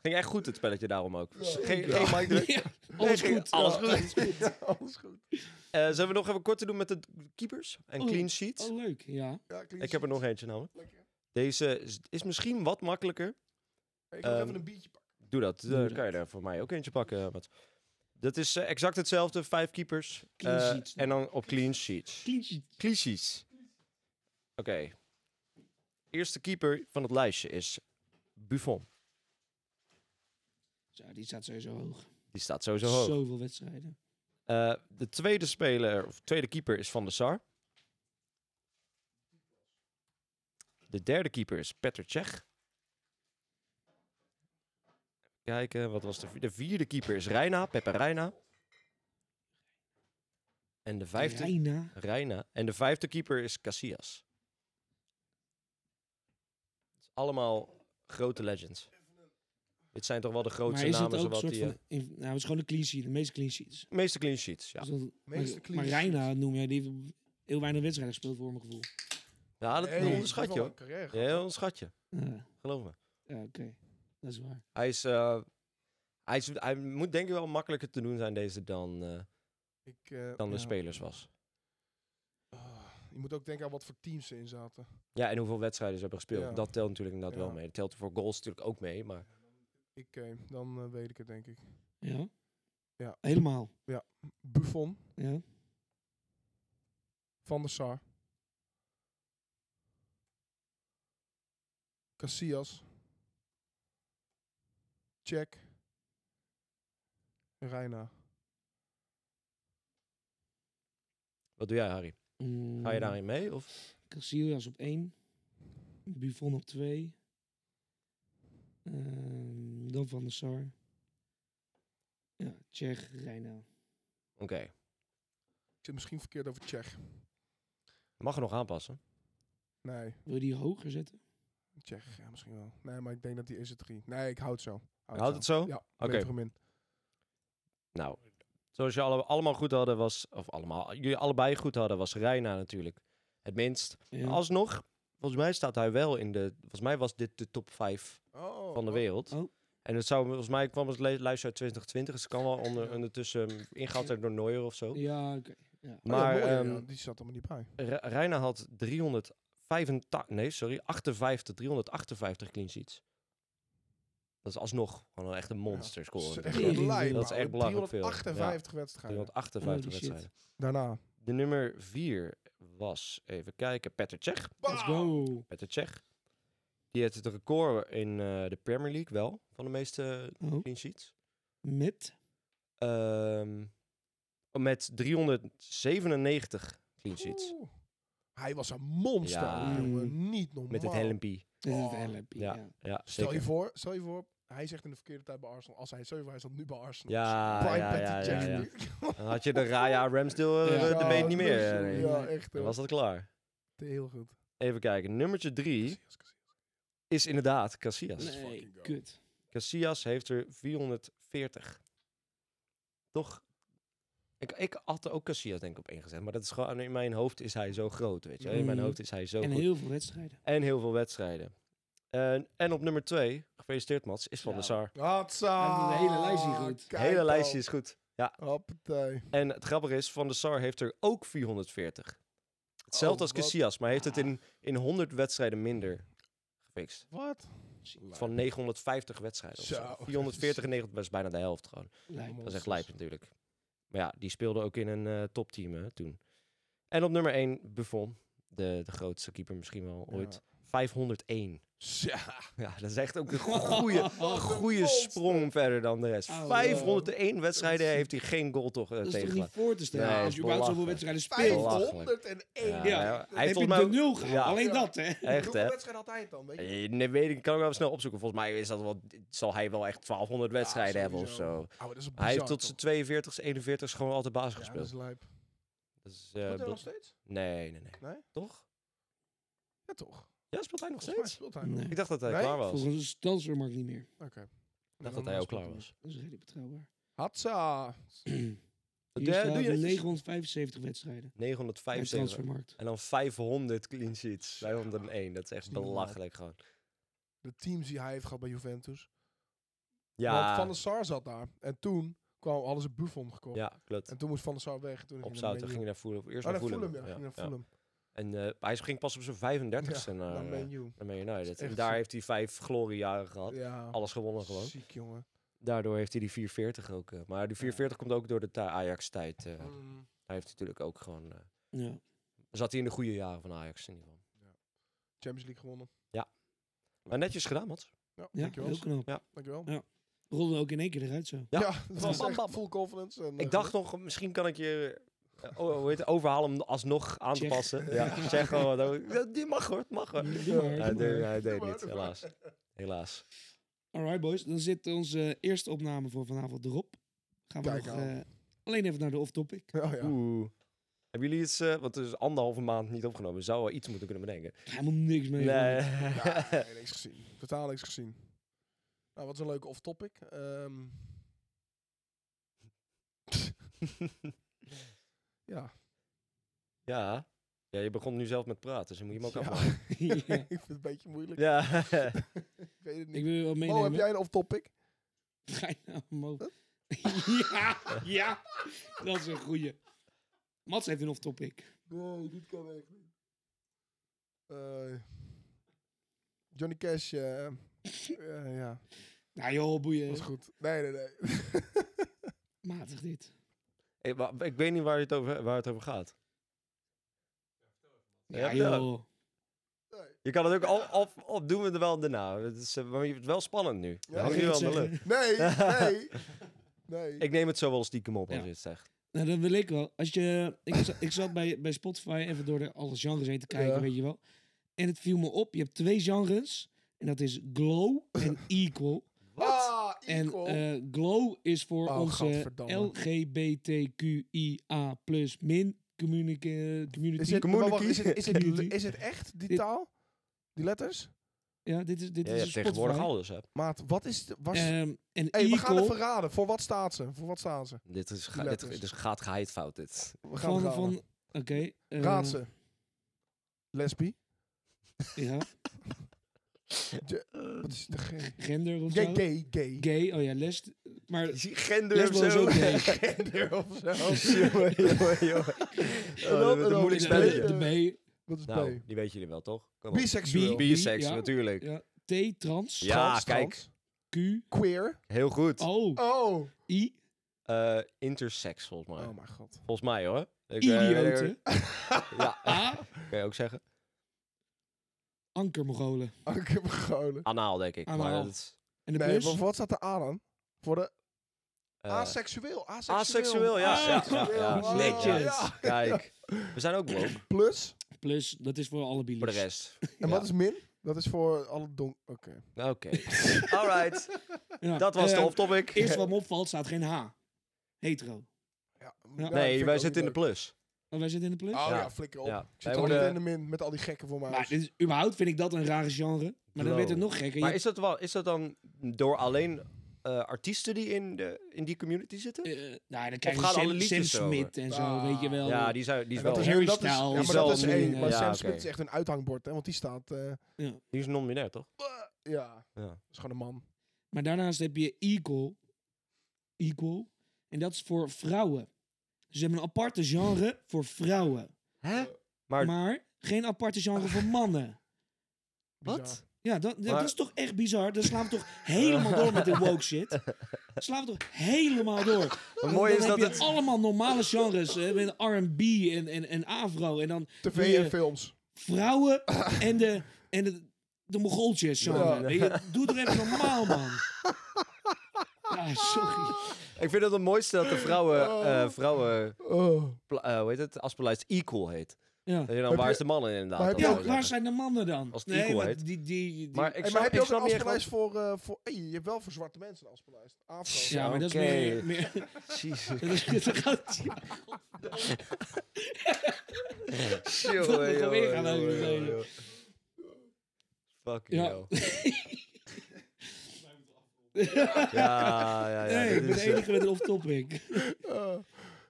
Speaker 3: Ging echt goed, het spelletje daarom ook.
Speaker 2: Ja.
Speaker 3: Geen,
Speaker 2: Ja.
Speaker 3: geen mic druk.
Speaker 1: Ja,
Speaker 3: Nee,
Speaker 1: alles
Speaker 3: ging-
Speaker 1: goed.
Speaker 3: Alles
Speaker 1: Ja.
Speaker 3: goed.
Speaker 2: Ja, alles goed.
Speaker 3: Eh, zullen we nog even kort te doen met de keepers en
Speaker 1: Oh.
Speaker 3: clean sheets?
Speaker 1: Oh, leuk, ja.
Speaker 2: Ja, clean
Speaker 3: Ik heb er
Speaker 2: sheet.
Speaker 3: nog eentje namelijk.
Speaker 2: Lekker.
Speaker 3: Deze is- is misschien wat makkelijker.
Speaker 2: Ik ga nog
Speaker 3: Ehm,
Speaker 2: even een biertje pakken.
Speaker 3: Doe dat. Dan
Speaker 1: Doe dat.
Speaker 3: kan je er voor mij ook eentje pakken. eh, Mats. Dat is eh, exact hetzelfde. Vijf keepers.
Speaker 1: Clean
Speaker 3: eh,
Speaker 1: sheets.
Speaker 3: En dan op clean sheets.
Speaker 1: Clean sheet.
Speaker 3: Clean sheets. Oké. Eerste keeper van het lijstje is Buffon.
Speaker 1: Zo, die staat sowieso hoog.
Speaker 3: Die staat sowieso hoog.
Speaker 1: Zoveel wedstrijden.
Speaker 3: Eh, de tweede speler, of tweede keeper is Van der Sar. De derde keeper is Petr Cech. Kijken, wat was de vierde? De vierde keeper is Reina, Pepe Reina. En de vijfde...
Speaker 1: Reina.
Speaker 3: Reina. En de vijfde keeper is Casillas. Allemaal grote legends. Dit zijn toch wel de grootste
Speaker 1: Maar is het
Speaker 3: namen,
Speaker 1: ook een
Speaker 3: zowat
Speaker 1: soort
Speaker 3: die...
Speaker 1: van... in- nou, het is gewoon een clean sheet. De meeste clean sheets.
Speaker 3: eh, meeste clean sheets, ja.
Speaker 1: Dus dat-
Speaker 2: Meeste
Speaker 1: maar,
Speaker 2: clean
Speaker 1: maar Reina noem jij, die heeft heel weinig wedstrijden gespeeld voor mijn gevoel.
Speaker 3: Ja, dat
Speaker 2: Nee,
Speaker 3: onderschat
Speaker 2: dat
Speaker 3: je
Speaker 2: is
Speaker 3: hoor.
Speaker 2: wel een carrière
Speaker 3: Ja,
Speaker 2: gehad.
Speaker 3: heel een schatje,
Speaker 1: Ja,
Speaker 3: geloof me.
Speaker 1: Ah, ja, oké. Dat is waar.
Speaker 3: Hij is, eh, hij is, hij moet denk ik wel makkelijker te doen zijn deze dan, eh,
Speaker 2: Ik, eh,
Speaker 3: dan de
Speaker 2: ja.
Speaker 3: spelers was.
Speaker 2: Ah, je moet ook denken aan wat voor teams ze in zaten.
Speaker 3: Ja, en hoeveel wedstrijden ze hebben gespeeld.
Speaker 2: Ja.
Speaker 3: Dat telt natuurlijk inderdaad wel
Speaker 2: Ja.
Speaker 3: mee. Dat telt voor goals natuurlijk ook mee, maar
Speaker 2: Ik, eh, dan eh, weet ik het denk ik.
Speaker 1: Ja?
Speaker 2: Ja.
Speaker 1: Helemaal.
Speaker 2: Buffon,
Speaker 1: Ja.
Speaker 2: Van der Sar. Casillas. Check. Reina.
Speaker 3: wat doe jij Harry?
Speaker 1: Mm,
Speaker 3: Ga
Speaker 2: Mm-hmm.
Speaker 3: je daarin mee? Of?
Speaker 1: Casillas op 1. Buffon op 2. Ehm dan Van der Sar. Ja, Tsjech, Reina.
Speaker 3: Oké,
Speaker 2: Ik zit misschien verkeerd over Tsjech.
Speaker 3: mag er nog aanpassen.
Speaker 2: Nee,
Speaker 1: Wil je die hoger zetten?
Speaker 2: Tsjech ja, misschien wel. Nee, maar ik denk dat die is het drie. Nee, ik houd zo. Houd
Speaker 3: Houdt het zo?
Speaker 2: Ja,
Speaker 3: Oké.
Speaker 2: meter hem in.
Speaker 3: Nou, zoals je alle- allemaal goed hadden was, of allemaal, jullie allebei goed hadden, was Reina natuurlijk het minst.
Speaker 1: Ja.
Speaker 3: Alsnog, volgens mij staat hij wel in de, volgens mij was dit de top 5
Speaker 2: Oh,
Speaker 3: van de
Speaker 2: oh.
Speaker 3: wereld.
Speaker 1: Oh.
Speaker 3: En het zou, volgens mij kwam het le- lijstje uit 2020, dus het kan wel onder, ondertussen ehm, ingehaald zijn door Neuer of zo.
Speaker 1: Ja, oké.
Speaker 2: Oh ja,
Speaker 3: Maar
Speaker 2: mooi, ja,
Speaker 3: ehm,
Speaker 2: ja, die zat allemaal niet bij.
Speaker 3: Re- Reina had 385, nee sorry, 58, 358 clean sheets. Dat is alsnog gewoon een echte monster
Speaker 2: Dat
Speaker 3: score.
Speaker 2: is
Speaker 1: echt
Speaker 2: echt
Speaker 1: wel
Speaker 2: een lijp,
Speaker 1: Dat
Speaker 3: is
Speaker 2: man.
Speaker 3: echt belachelijk veel.
Speaker 2: 358 wedstrijden.
Speaker 3: 358
Speaker 1: Holy shit.
Speaker 3: wedstrijden.
Speaker 2: Daarna.
Speaker 3: De nummer 4 was, even kijken, Petter Cech.
Speaker 1: Oh, Let's go.
Speaker 3: Petter Cech. Die heeft het record in eh, de Premier League wel, van de meeste eh,
Speaker 1: Oh.
Speaker 3: clean sheets.
Speaker 1: Met?
Speaker 3: Ehm, met 397 clean sheets.
Speaker 2: Oeh. Hij was een monster,
Speaker 3: Ja.
Speaker 1: Mm.
Speaker 2: jongen. Niet normaal.
Speaker 3: Met het helmpie.
Speaker 1: Dit is
Speaker 2: Oh.
Speaker 1: het LMP,
Speaker 3: Ja,
Speaker 1: ja.
Speaker 3: ja
Speaker 2: Stel je,
Speaker 3: zeker.
Speaker 2: voor, stel je voor, hij zegt in de verkeerde tijd bij Arsenal. Als hij, stel je voor, hij zat nu bij Arsenal.
Speaker 3: Ja,
Speaker 2: Prime
Speaker 3: ja, ja,
Speaker 2: Patty
Speaker 3: ja,
Speaker 2: Jack
Speaker 3: ja.
Speaker 2: nu.
Speaker 3: Dan had je de Raya Ramsdale eh,
Speaker 1: Ja.
Speaker 3: de- de weet niet meer.
Speaker 2: Ja,
Speaker 3: eh, nee.
Speaker 2: ja, echt.
Speaker 3: Dan
Speaker 2: hoor.
Speaker 3: was dat klaar.
Speaker 2: heel goed.
Speaker 3: Even kijken. Nummertje 3
Speaker 2: Casillas, Casillas.
Speaker 3: is inderdaad Casillas.
Speaker 2: Let's
Speaker 1: Nee,
Speaker 2: fucking go.
Speaker 1: kut.
Speaker 3: Casillas heeft er 440. Toch? Ik, ik had er ook Casillas denk ik op ingezet. Maar dat is gewoon, in mijn hoofd is hij zo groot, weet je. In mijn
Speaker 1: Mhm.
Speaker 3: hoofd is hij zo
Speaker 1: En
Speaker 3: goed.
Speaker 1: heel veel wedstrijden.
Speaker 3: En heel veel wedstrijden. En, en op nummer 2, gefeliciteerd Mats, is Van der
Speaker 1: Ja.
Speaker 3: Sar.
Speaker 2: Hatsa!
Speaker 1: Hij heeft de hele lijst hier goed.
Speaker 3: Het
Speaker 2: Kijk
Speaker 3: hele
Speaker 2: dan.
Speaker 3: lijstje is goed.
Speaker 2: Hoppatee.
Speaker 3: En het grappige is, Van der Sar heeft er ook 440. Hetzelfde
Speaker 2: Oh,
Speaker 3: als
Speaker 2: wat-
Speaker 3: Casillas, maar heeft het in, in 100 wedstrijden minder gefixt.
Speaker 2: Wat?
Speaker 3: Van 950 wedstrijden. of zo.
Speaker 2: Zo.
Speaker 3: 440 en 90 was bijna de helft gewoon.
Speaker 1: Lijp.
Speaker 3: Dat is echt lijp natuurlijk. Maar ja, die speelde ook in een eh, topteam hè, toen. En op nummer 1 Buffon, de, de grootste keeper misschien wel
Speaker 2: Ja.
Speaker 3: ooit. 501.
Speaker 2: Ja. Oh,
Speaker 3: Ja, dat is echt ook een goede,
Speaker 2: Wat een
Speaker 3: goede
Speaker 2: monster.
Speaker 3: sprong verder dan de rest.
Speaker 1: Oh,
Speaker 3: 501 wedstrijden heeft hij geen goal toch eh,
Speaker 1: Dat is toch niet
Speaker 3: tegen.
Speaker 1: voor te stellen?
Speaker 3: Nee,
Speaker 1: als
Speaker 3: is
Speaker 1: je überhaupt zoveel
Speaker 3: belachelijk.
Speaker 1: wedstrijden speelt,
Speaker 3: Belachelijk.
Speaker 2: 501.
Speaker 3: Ja,
Speaker 1: Ja.
Speaker 3: ja,
Speaker 2: Hij
Speaker 3: Hij
Speaker 1: heb
Speaker 3: heeft
Speaker 1: je
Speaker 3: volgens
Speaker 1: de
Speaker 3: mij
Speaker 1: nul gehaald.
Speaker 3: Ja.
Speaker 1: Alleen
Speaker 2: Ja.
Speaker 1: dat, hè?
Speaker 3: echt hè.
Speaker 2: wedstrijd had hij het dan, weet je?
Speaker 3: Eh, Nee, weet ik, ik kan ik wel even snel opzoeken. Volgens mij is dat wel, zal hij wel echt 1200 wedstrijden hebben of
Speaker 2: sowieso.
Speaker 3: zo.
Speaker 2: Oh, maar dat is
Speaker 3: Hij heeft
Speaker 2: bizar,
Speaker 3: tot
Speaker 2: toch?
Speaker 3: zijn 42, 41 gewoon altijd basis
Speaker 2: Ja, dat
Speaker 3: gespeeld. Eh,
Speaker 2: is lijp. Doet
Speaker 3: Dat is, eh,
Speaker 2: hij dat
Speaker 3: bl-
Speaker 2: nog steeds?
Speaker 3: nee, nee, nee,
Speaker 2: Nee?
Speaker 3: Toch?
Speaker 2: Ja, toch?
Speaker 3: Ja, speelt hij nog
Speaker 2: Volgens mij
Speaker 3: steeds?
Speaker 2: speelt hij
Speaker 1: Nee.
Speaker 2: nog.
Speaker 3: Ik dacht dat hij
Speaker 2: Nee?
Speaker 3: klaar was. Ik
Speaker 1: Volgens de transfermarkt niet meer.
Speaker 2: Oké. Ik
Speaker 3: dacht dat hij ook klaar was.
Speaker 1: Dat is redelijk betrouwbaar.
Speaker 2: Hatsa.
Speaker 1: Hier
Speaker 3: Ja, doe
Speaker 1: staat
Speaker 3: je netjes.
Speaker 1: 975 wedstrijden. Bij de
Speaker 3: 975.
Speaker 1: transfermarkt.
Speaker 3: En dan 500 clean sheets. 501. Dat is echt
Speaker 2: is niet normaal.
Speaker 3: belachelijk gewoon.
Speaker 2: De teams die hij heeft gehad bij Juventus. Want Van
Speaker 3: Ja,
Speaker 2: der Sar zat daar. En toen kwam alles een Buffon gekocht.
Speaker 3: ja klopt.
Speaker 2: En toen moest Van der Sar weg. en Toen
Speaker 3: Opzouten ging
Speaker 2: hij
Speaker 3: hij naar Fulham. Eerst
Speaker 2: naar
Speaker 3: naar
Speaker 2: Man U.
Speaker 3: Fulham.
Speaker 2: Oh, naar Fulham, ja. Ging naar Fulham.
Speaker 3: En eh, hij ging pas op zijn 35ste
Speaker 2: Ja,
Speaker 3: naar,
Speaker 2: naar
Speaker 3: eh,
Speaker 2: Man U.
Speaker 3: naar Man United.
Speaker 2: echt
Speaker 3: En daar
Speaker 2: zo.
Speaker 3: heeft hij vijf gloriejaren gehad.
Speaker 2: Ja.
Speaker 3: Alles gewonnen gewoon.
Speaker 2: Ziek, jongen.
Speaker 3: Daardoor heeft hij die 440 ook. eh, maar die 440 komt ook door de ta- Ajax-tijd. eh.
Speaker 2: Mm.
Speaker 3: Hij heeft natuurlijk ook gewoon... eh,
Speaker 1: Ja.
Speaker 3: zat hij in de goede jaren van Ajax in ieder geval.
Speaker 2: Champions League gewonnen.
Speaker 3: Maar netjes gedaan, Mats.
Speaker 2: Ja,
Speaker 1: Ja,
Speaker 2: dankjewel.
Speaker 1: heel knap.
Speaker 2: Dankjewel.
Speaker 1: Ja. Rollen ook in één keer eruit zo.
Speaker 3: Ja.
Speaker 2: Ja, dat was
Speaker 3: Bam, bam.
Speaker 2: echt full confidence. En, eh,
Speaker 3: Ik dacht nog, misschien kan ik je eh, oh, hoe heet het, overhalen om alsnog aan te
Speaker 1: Zeg.
Speaker 3: passen. Ja, zeg gewoon. dat- ja, die mag hoor, het mag hoor.
Speaker 1: Doe maar,
Speaker 3: Hij
Speaker 1: doe maar.
Speaker 3: deed, hij deed
Speaker 2: maar,
Speaker 3: niet,
Speaker 2: doe maar.
Speaker 3: helaas. Helaas.
Speaker 1: Alright boys, dan zit onze eerste opname voor vanavond erop. Gaan we
Speaker 2: Kijk
Speaker 1: nog,
Speaker 2: aan.
Speaker 1: eh, alleen even naar de off-topic.
Speaker 3: eh,
Speaker 2: Oh ja.
Speaker 3: Oeh. Hebben jullie iets, eh, want het is anderhalve maand niet opgenomen. Zou wel iets moeten kunnen bedenken.
Speaker 1: Helemaal niks mee.
Speaker 3: Nee.
Speaker 2: Ja, nee, niks gezien. Totaal niks gezien. Nou, wat is een leuke off-topic. Ehm, ja.
Speaker 3: ja. Ja, je begon nu zelf met praten, dus dan moet je hem ook
Speaker 2: Ja.
Speaker 3: afmaken.
Speaker 1: Ja.
Speaker 2: ik vind het een beetje moeilijk.
Speaker 3: Ja.
Speaker 2: Ik weet het
Speaker 1: Ik
Speaker 2: niet.
Speaker 1: wil je wel meenemen.
Speaker 2: Oh, heb jij een off-topic?
Speaker 1: Ga je nou omhoog? ja, ja. Dat is een goeie. Mats heeft een off-topic.
Speaker 2: Nee, dit kan echt niet. Eh, Johnny Cash, eh, eh, ja,
Speaker 1: Nou joh, boeien.
Speaker 2: was goed. Nee, nee, nee.
Speaker 1: Matig dit.
Speaker 3: Ik, wa- ik weet niet waar het over, waar het over gaat.
Speaker 1: Ja,
Speaker 3: Ja, ja.
Speaker 1: joh.
Speaker 2: Nee,
Speaker 3: Je kan het ook al, of, of doen we er wel daarna. Het is, eh, maar je het wel spannend nu.
Speaker 2: Ja,
Speaker 3: Ja, hangt
Speaker 1: ik
Speaker 3: nu wel
Speaker 1: het
Speaker 3: aan de
Speaker 1: zeggen.
Speaker 3: lucht.
Speaker 2: nee, nee. nee.
Speaker 3: Ik neem het zo wel stiekem op als
Speaker 1: Ja.
Speaker 3: je het zegt.
Speaker 1: Nou, dat wil ik wel. Als je, ik, za- ik zat bij, bij Spotify even door de alle genres heen te kijken,
Speaker 2: Ja.
Speaker 1: weet je wel. En het viel me op, je hebt twee genres. En dat is glow en equal.
Speaker 2: Ah,
Speaker 1: En
Speaker 2: equal.
Speaker 1: eh, glow is voor
Speaker 2: Oh,
Speaker 1: onze
Speaker 2: gadverdamme.
Speaker 1: LGBTQIA plus min communica- community.
Speaker 2: Is het, maar
Speaker 3: Community.
Speaker 2: wacht, is, het, is, het,
Speaker 1: Community.
Speaker 2: is het echt, die
Speaker 1: Dit-
Speaker 2: taal? Die letters?
Speaker 1: ja, dit is, dit
Speaker 3: Ja, je
Speaker 1: is
Speaker 3: hebt
Speaker 1: een
Speaker 3: tegenwoordig
Speaker 1: Spotify.
Speaker 3: alles. Hè.
Speaker 2: Maat, wat is... de- Was,
Speaker 1: Ehm, en
Speaker 2: hey, we gaan
Speaker 1: equal
Speaker 2: het verraden. Voor wat staat ze? Voor wat staan ze?
Speaker 3: Dit, is ga- dit,
Speaker 2: letters.
Speaker 3: dit is gaat geheid fout, dit.
Speaker 2: We gaan
Speaker 1: van...
Speaker 2: het
Speaker 1: van
Speaker 2: raden.
Speaker 1: Oké. eh,
Speaker 2: Raad ze. Lesbi?
Speaker 1: Ja,
Speaker 2: Wat is de gay?
Speaker 1: gender of
Speaker 2: Gay,
Speaker 1: zo.
Speaker 2: gay, gay.
Speaker 1: Gay, oh ja, les. Maar
Speaker 3: Je ziet gender
Speaker 1: Lesbo
Speaker 3: of
Speaker 1: is
Speaker 3: zo.
Speaker 1: ook gay.
Speaker 2: Gender of zo.
Speaker 3: jongen, jongen, jongen.
Speaker 2: dan-
Speaker 3: Oh, dat is
Speaker 2: en
Speaker 3: een
Speaker 2: dan
Speaker 3: moeilijk
Speaker 2: is het
Speaker 3: spelletje.
Speaker 2: leuk.
Speaker 1: De B,
Speaker 2: Wat is
Speaker 3: Nou,
Speaker 2: B?
Speaker 3: die weet jullie wel, toch? Kom op.
Speaker 2: Biseksueel.
Speaker 1: Bi-
Speaker 3: Bisex,
Speaker 1: ja.
Speaker 3: natuurlijk.
Speaker 1: ja, T, trans,
Speaker 3: Ja.
Speaker 2: Trans,
Speaker 3: kijk.
Speaker 2: trans.
Speaker 1: Q,
Speaker 2: Queer.
Speaker 3: Heel goed.
Speaker 1: O,
Speaker 2: Oh.
Speaker 1: I,
Speaker 3: Eh, intersex, volgens mij.
Speaker 2: Oh mijn god.
Speaker 3: Volgens mij, hoor. Ik, eh,
Speaker 1: idioten,
Speaker 3: ja,
Speaker 1: A,
Speaker 3: kan je ook zeggen.
Speaker 1: ankermogolen.
Speaker 2: Oh, ik heb hem geholen.
Speaker 3: Anaal, denk ik. Maar
Speaker 1: Anaal.
Speaker 3: dat is,
Speaker 1: En de
Speaker 2: Nee,
Speaker 1: plus?
Speaker 2: maar voor wat staat de A dan? Voor de
Speaker 3: eh,
Speaker 2: aseksueel. Aseksueel.
Speaker 3: aseksueel, ja. ja, ja,
Speaker 2: Aseksueel.
Speaker 3: ja.
Speaker 2: Oh,
Speaker 1: Netjes.
Speaker 2: ja.
Speaker 3: Kijk, we zijn ook woke
Speaker 2: Plus.
Speaker 1: plus, dat is voor alle bielen.
Speaker 3: voor de rest.
Speaker 2: En
Speaker 3: Ja.
Speaker 2: wat is min? Dat is voor alle donk... Oké.
Speaker 3: Oké. Alright.
Speaker 1: Ja,
Speaker 3: Dat was de
Speaker 1: eh,
Speaker 3: off-topic.
Speaker 1: Eerst wat me opvalt, staat geen H. Hetero.
Speaker 2: Ja, m-
Speaker 1: Nee,
Speaker 2: ja, vind
Speaker 3: Nee,
Speaker 2: ik
Speaker 3: wij
Speaker 2: ook
Speaker 3: zitten in de
Speaker 2: niet
Speaker 3: plus.
Speaker 1: Oh, wij zitten in de plus?
Speaker 2: leuk. Oh ja,
Speaker 3: Ja.
Speaker 2: flikker op.
Speaker 3: Ja.
Speaker 2: Ik
Speaker 3: Wij
Speaker 2: zit al niet
Speaker 3: worden-
Speaker 2: in de min met al die gekken voor mij.
Speaker 1: Maar dit is, überhaupt vind ik dat een rare genre. Maar dan
Speaker 3: Glow.
Speaker 1: werd het nog gekker. Je
Speaker 3: Maar
Speaker 1: hebt,
Speaker 3: is dat, wel, is dat dan door alleen eh, artiesten die in, de, in die community zitten?
Speaker 1: eh, nou, dan krijg je
Speaker 3: gaan alle
Speaker 1: Sam, Sam
Speaker 3: liedjes erover?
Speaker 1: Smith en zo,
Speaker 2: Ah.
Speaker 1: weet je wel.
Speaker 3: ja, die, zijn, die is
Speaker 2: En
Speaker 3: wel...
Speaker 1: is
Speaker 3: Die
Speaker 1: Harry
Speaker 2: dat is, ja,
Speaker 1: Styles,
Speaker 2: maar dat is
Speaker 3: Zal
Speaker 2: één.
Speaker 3: nu-
Speaker 2: Maar
Speaker 3: Ja,
Speaker 2: Sam
Speaker 3: oké.
Speaker 2: Smith is echt een uithangbord, hè? Want die staat. eh,
Speaker 3: is non-binair, toch?
Speaker 2: ja,
Speaker 3: Ja.
Speaker 2: dat is gewoon een man.
Speaker 1: Maar daarnaast heb je equal. Equal. En dat is voor vrouwen. Dus Ze hebben een aparte genre voor vrouwen.
Speaker 3: Hè? Maar,
Speaker 1: Maar geen aparte genre voor mannen.
Speaker 2: Bizar.
Speaker 3: wat?
Speaker 1: Ja, dat, dat,
Speaker 3: Maar-
Speaker 1: is toch echt bizar. Dan slaan we toch helemaal door met de woke shit. Dan Slaan we toch helemaal door.
Speaker 3: Hoe
Speaker 1: Dan,
Speaker 3: mooi
Speaker 1: dan
Speaker 3: is
Speaker 1: heb
Speaker 3: dat
Speaker 1: je
Speaker 3: het...
Speaker 1: allemaal normale genres. eh, Met R&B en, en, en afro. En dan
Speaker 2: TV
Speaker 1: Wil je-
Speaker 2: en films.
Speaker 1: vrouwen en de, En de, de Mongooltjes,
Speaker 2: Ja.
Speaker 1: genre. Weet je, Doe er even normaal, man. Ja, sorry.
Speaker 3: Ik vind het het mooiste dat de vrouwen, eh, vrouwen
Speaker 2: Oh.
Speaker 3: pla- eh, hoe heet het, afspeellijst equal heet.
Speaker 1: Ja.
Speaker 3: Dat je dan,
Speaker 2: Heb
Speaker 3: waar
Speaker 2: je-
Speaker 3: is de mannen inderdaad?
Speaker 2: maar heb
Speaker 3: dan
Speaker 2: je
Speaker 1: Ja,
Speaker 3: zou
Speaker 2: ook-
Speaker 3: zeggen.
Speaker 1: waar zijn de mannen dan?
Speaker 3: Als het equal
Speaker 1: maar
Speaker 3: heet.
Speaker 1: die, die, die-
Speaker 3: Maar ik
Speaker 2: Hey,
Speaker 3: snap,
Speaker 2: maar heb je
Speaker 3: ik
Speaker 2: ook een
Speaker 3: snap niet echt...
Speaker 2: afspeellijst voor... eh, voor hey, je hebt wel voor zwarte mensen een afspeellijst. Afro.
Speaker 1: Ja, maar dat is
Speaker 3: Oké.
Speaker 1: meer... meer
Speaker 3: wat- Jezus.
Speaker 1: dat is- dat gaat-
Speaker 3: Jongen,
Speaker 1: Dat moet
Speaker 3: jongen,
Speaker 1: alweer gaan
Speaker 3: jongen,
Speaker 1: over de
Speaker 3: jongen,
Speaker 1: zone.
Speaker 3: jongen. Fucking
Speaker 1: Ja.
Speaker 3: hell. Ja, ja, ja.
Speaker 1: Nee, ik
Speaker 3: dit
Speaker 1: ben
Speaker 3: is,
Speaker 1: de
Speaker 3: eh,
Speaker 1: enige met een off-topic.
Speaker 2: Eh,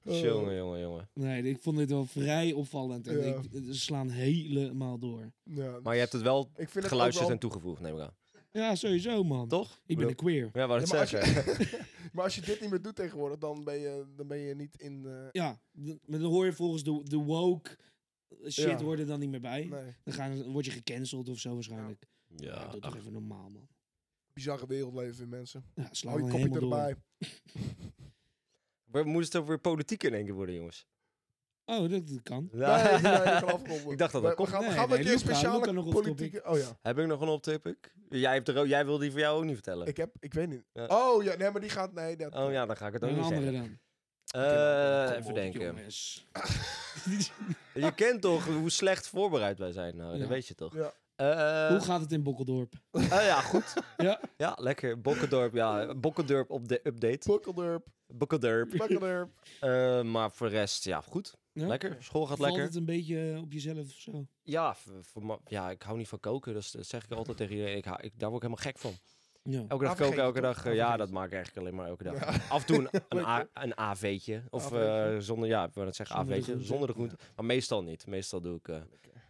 Speaker 2: eh,
Speaker 3: Jongen, jongen, jongen.
Speaker 1: Nee, ik vond dit wel vrij opvallend. En
Speaker 2: Ja.
Speaker 1: ik, ze slaan helemaal door.
Speaker 2: ja,
Speaker 3: Maar je hebt het wel
Speaker 2: ik vind het ook
Speaker 3: geluisterd
Speaker 2: wel-
Speaker 3: en toegevoegd, neem ik aan.
Speaker 1: Ja, sowieso, man.
Speaker 3: Toch?
Speaker 1: Ik ben een queer.
Speaker 3: Ja, wou het
Speaker 2: Ja, maar als
Speaker 3: zeggen.
Speaker 2: Maar als je dit niet meer doet tegenwoordig, dan ben je, dan ben je niet in... eh,
Speaker 1: Ja, d- maar dan hoor je volgens de, de woke shit
Speaker 2: Ja.
Speaker 1: hoor er dan niet meer bij.
Speaker 2: nee,
Speaker 1: Dan, gaan, dan word je gecanceld of zo waarschijnlijk. Ja,
Speaker 3: Ja,
Speaker 1: doe toch even normaal, man.
Speaker 2: bizarre wereld leven in mensen.
Speaker 1: Ja, sla
Speaker 2: Hou Oh, je
Speaker 1: dan
Speaker 2: kopje
Speaker 1: helemaal door.
Speaker 2: erbij.
Speaker 3: we moesten het ook weer politiek in één keer worden, jongens.
Speaker 1: Oh, dat, dat kan.
Speaker 3: Ja.
Speaker 2: Nee, nee, je kan afronden.
Speaker 3: Ik dacht dat
Speaker 2: We-
Speaker 3: dat
Speaker 2: we
Speaker 3: kon.
Speaker 2: gaan, we
Speaker 1: Nee,
Speaker 2: gaan
Speaker 1: nee,
Speaker 2: met je
Speaker 1: Luca, Luca
Speaker 2: speciale
Speaker 1: nog op
Speaker 2: politieke... Oh ja,
Speaker 3: Heb ik nog een optip? Jij, hebt er ook- jij wilde die voor jou ook niet vertellen.
Speaker 2: ik heb... Ik weet niet.
Speaker 3: Ja.
Speaker 2: Oh ja, nee, maar die gaat... Nee, dat...
Speaker 3: oh ja, dan ga ik het ook
Speaker 1: een
Speaker 3: niet
Speaker 1: andere
Speaker 3: zeggen.
Speaker 1: dan.
Speaker 3: Eh,
Speaker 1: Kom
Speaker 3: even
Speaker 1: op,
Speaker 3: denken.
Speaker 1: jongens.
Speaker 3: Je kent toch hoe slecht voorbereid wij zijn? Nou,
Speaker 1: Ja.
Speaker 3: Dat weet je toch?
Speaker 2: Ja.
Speaker 3: Eh,
Speaker 1: Hoe gaat het in Bokkeldorp?
Speaker 3: ah ja, goed.
Speaker 1: Ja.
Speaker 3: Ja, lekker. Bokkendorp, ja. Bokkendorp op de update.
Speaker 2: Bukkeldurp,
Speaker 3: Bokkendorp.
Speaker 2: Bukkeldurp.
Speaker 3: Eh, maar voor de rest, ja, goed.
Speaker 1: Ja?
Speaker 3: Lekker. School gaat
Speaker 1: Valt
Speaker 3: lekker.
Speaker 1: het een beetje eh, op jezelf of zo?
Speaker 3: Ja, v- voor ma- ja, ik hou niet van koken. Dus dat zeg ik altijd tegen iedereen. Ik, hou- ik, daar word ik helemaal gek van.
Speaker 1: Ja.
Speaker 3: Elke dag
Speaker 2: Afgegeten,
Speaker 3: koken, elke
Speaker 2: toch?
Speaker 3: dag. eh, ja,
Speaker 2: Afgegeten.
Speaker 3: dat maak ik eigenlijk alleen maar elke dag.
Speaker 2: Ja.
Speaker 3: Af en toe een, een,
Speaker 2: Leuk,
Speaker 3: A- een AV'tje. Of eh,
Speaker 2: AV'tje.
Speaker 3: zonder, ja, ik wil het zeggen
Speaker 1: Zonder de
Speaker 3: AV'tje.
Speaker 1: groente.
Speaker 3: zonder de groente. Maar meestal niet. Meestal doe ik... eh,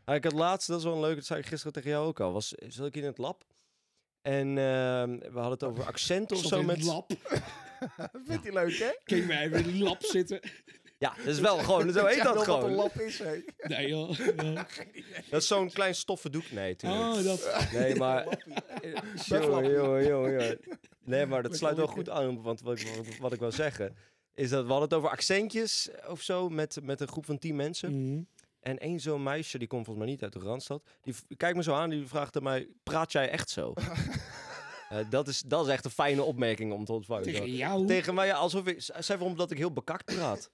Speaker 3: Ah, ik had laatst, dat is wel een leuke, dat zei ik gisteren tegen jou ook al. Was, zat ik in het lab. En ehm, we hadden het over accenten
Speaker 1: Ik zat
Speaker 3: of zo
Speaker 1: in
Speaker 3: met...
Speaker 1: het lab.
Speaker 2: Vindt hij leuk, hè?
Speaker 1: Kun je mij even in het lab zitten?
Speaker 3: Ja, dat is wel gewoon, Oh, zo heet
Speaker 2: Ja,
Speaker 3: dat
Speaker 2: wel Wat een
Speaker 3: gewoon.
Speaker 2: lap is, hè?
Speaker 1: Nee, joh. Ja.
Speaker 3: Dat is zo'n klein stoffen doek. Nee, tuurlijk.
Speaker 1: Oh, dat.
Speaker 3: Nee, maar... eh, Jongen,
Speaker 2: Backlappie.
Speaker 3: jongen, jongen, jongen. Nee, maar dat
Speaker 2: Lekker
Speaker 3: sluit wel
Speaker 2: likken.
Speaker 3: goed aan, want wat ik, wat, ik wil zeggen... Is dat we hadden het over accentjes of zo met, met een groep van tien mensen.
Speaker 1: Mhm.
Speaker 3: En één zo'n meisje, die komt volgens mij niet uit de Randstad. Die v- kijkt me zo aan, die vraagt aan mij, praat jij echt zo? Eh, dat, is, dat is echt een fijne opmerking om te ontvangen.
Speaker 1: Tegen
Speaker 3: zo.
Speaker 1: jou?
Speaker 3: Tegen mij, ja, alsof ik... z- Zij vond dat ik heel bekakt praat.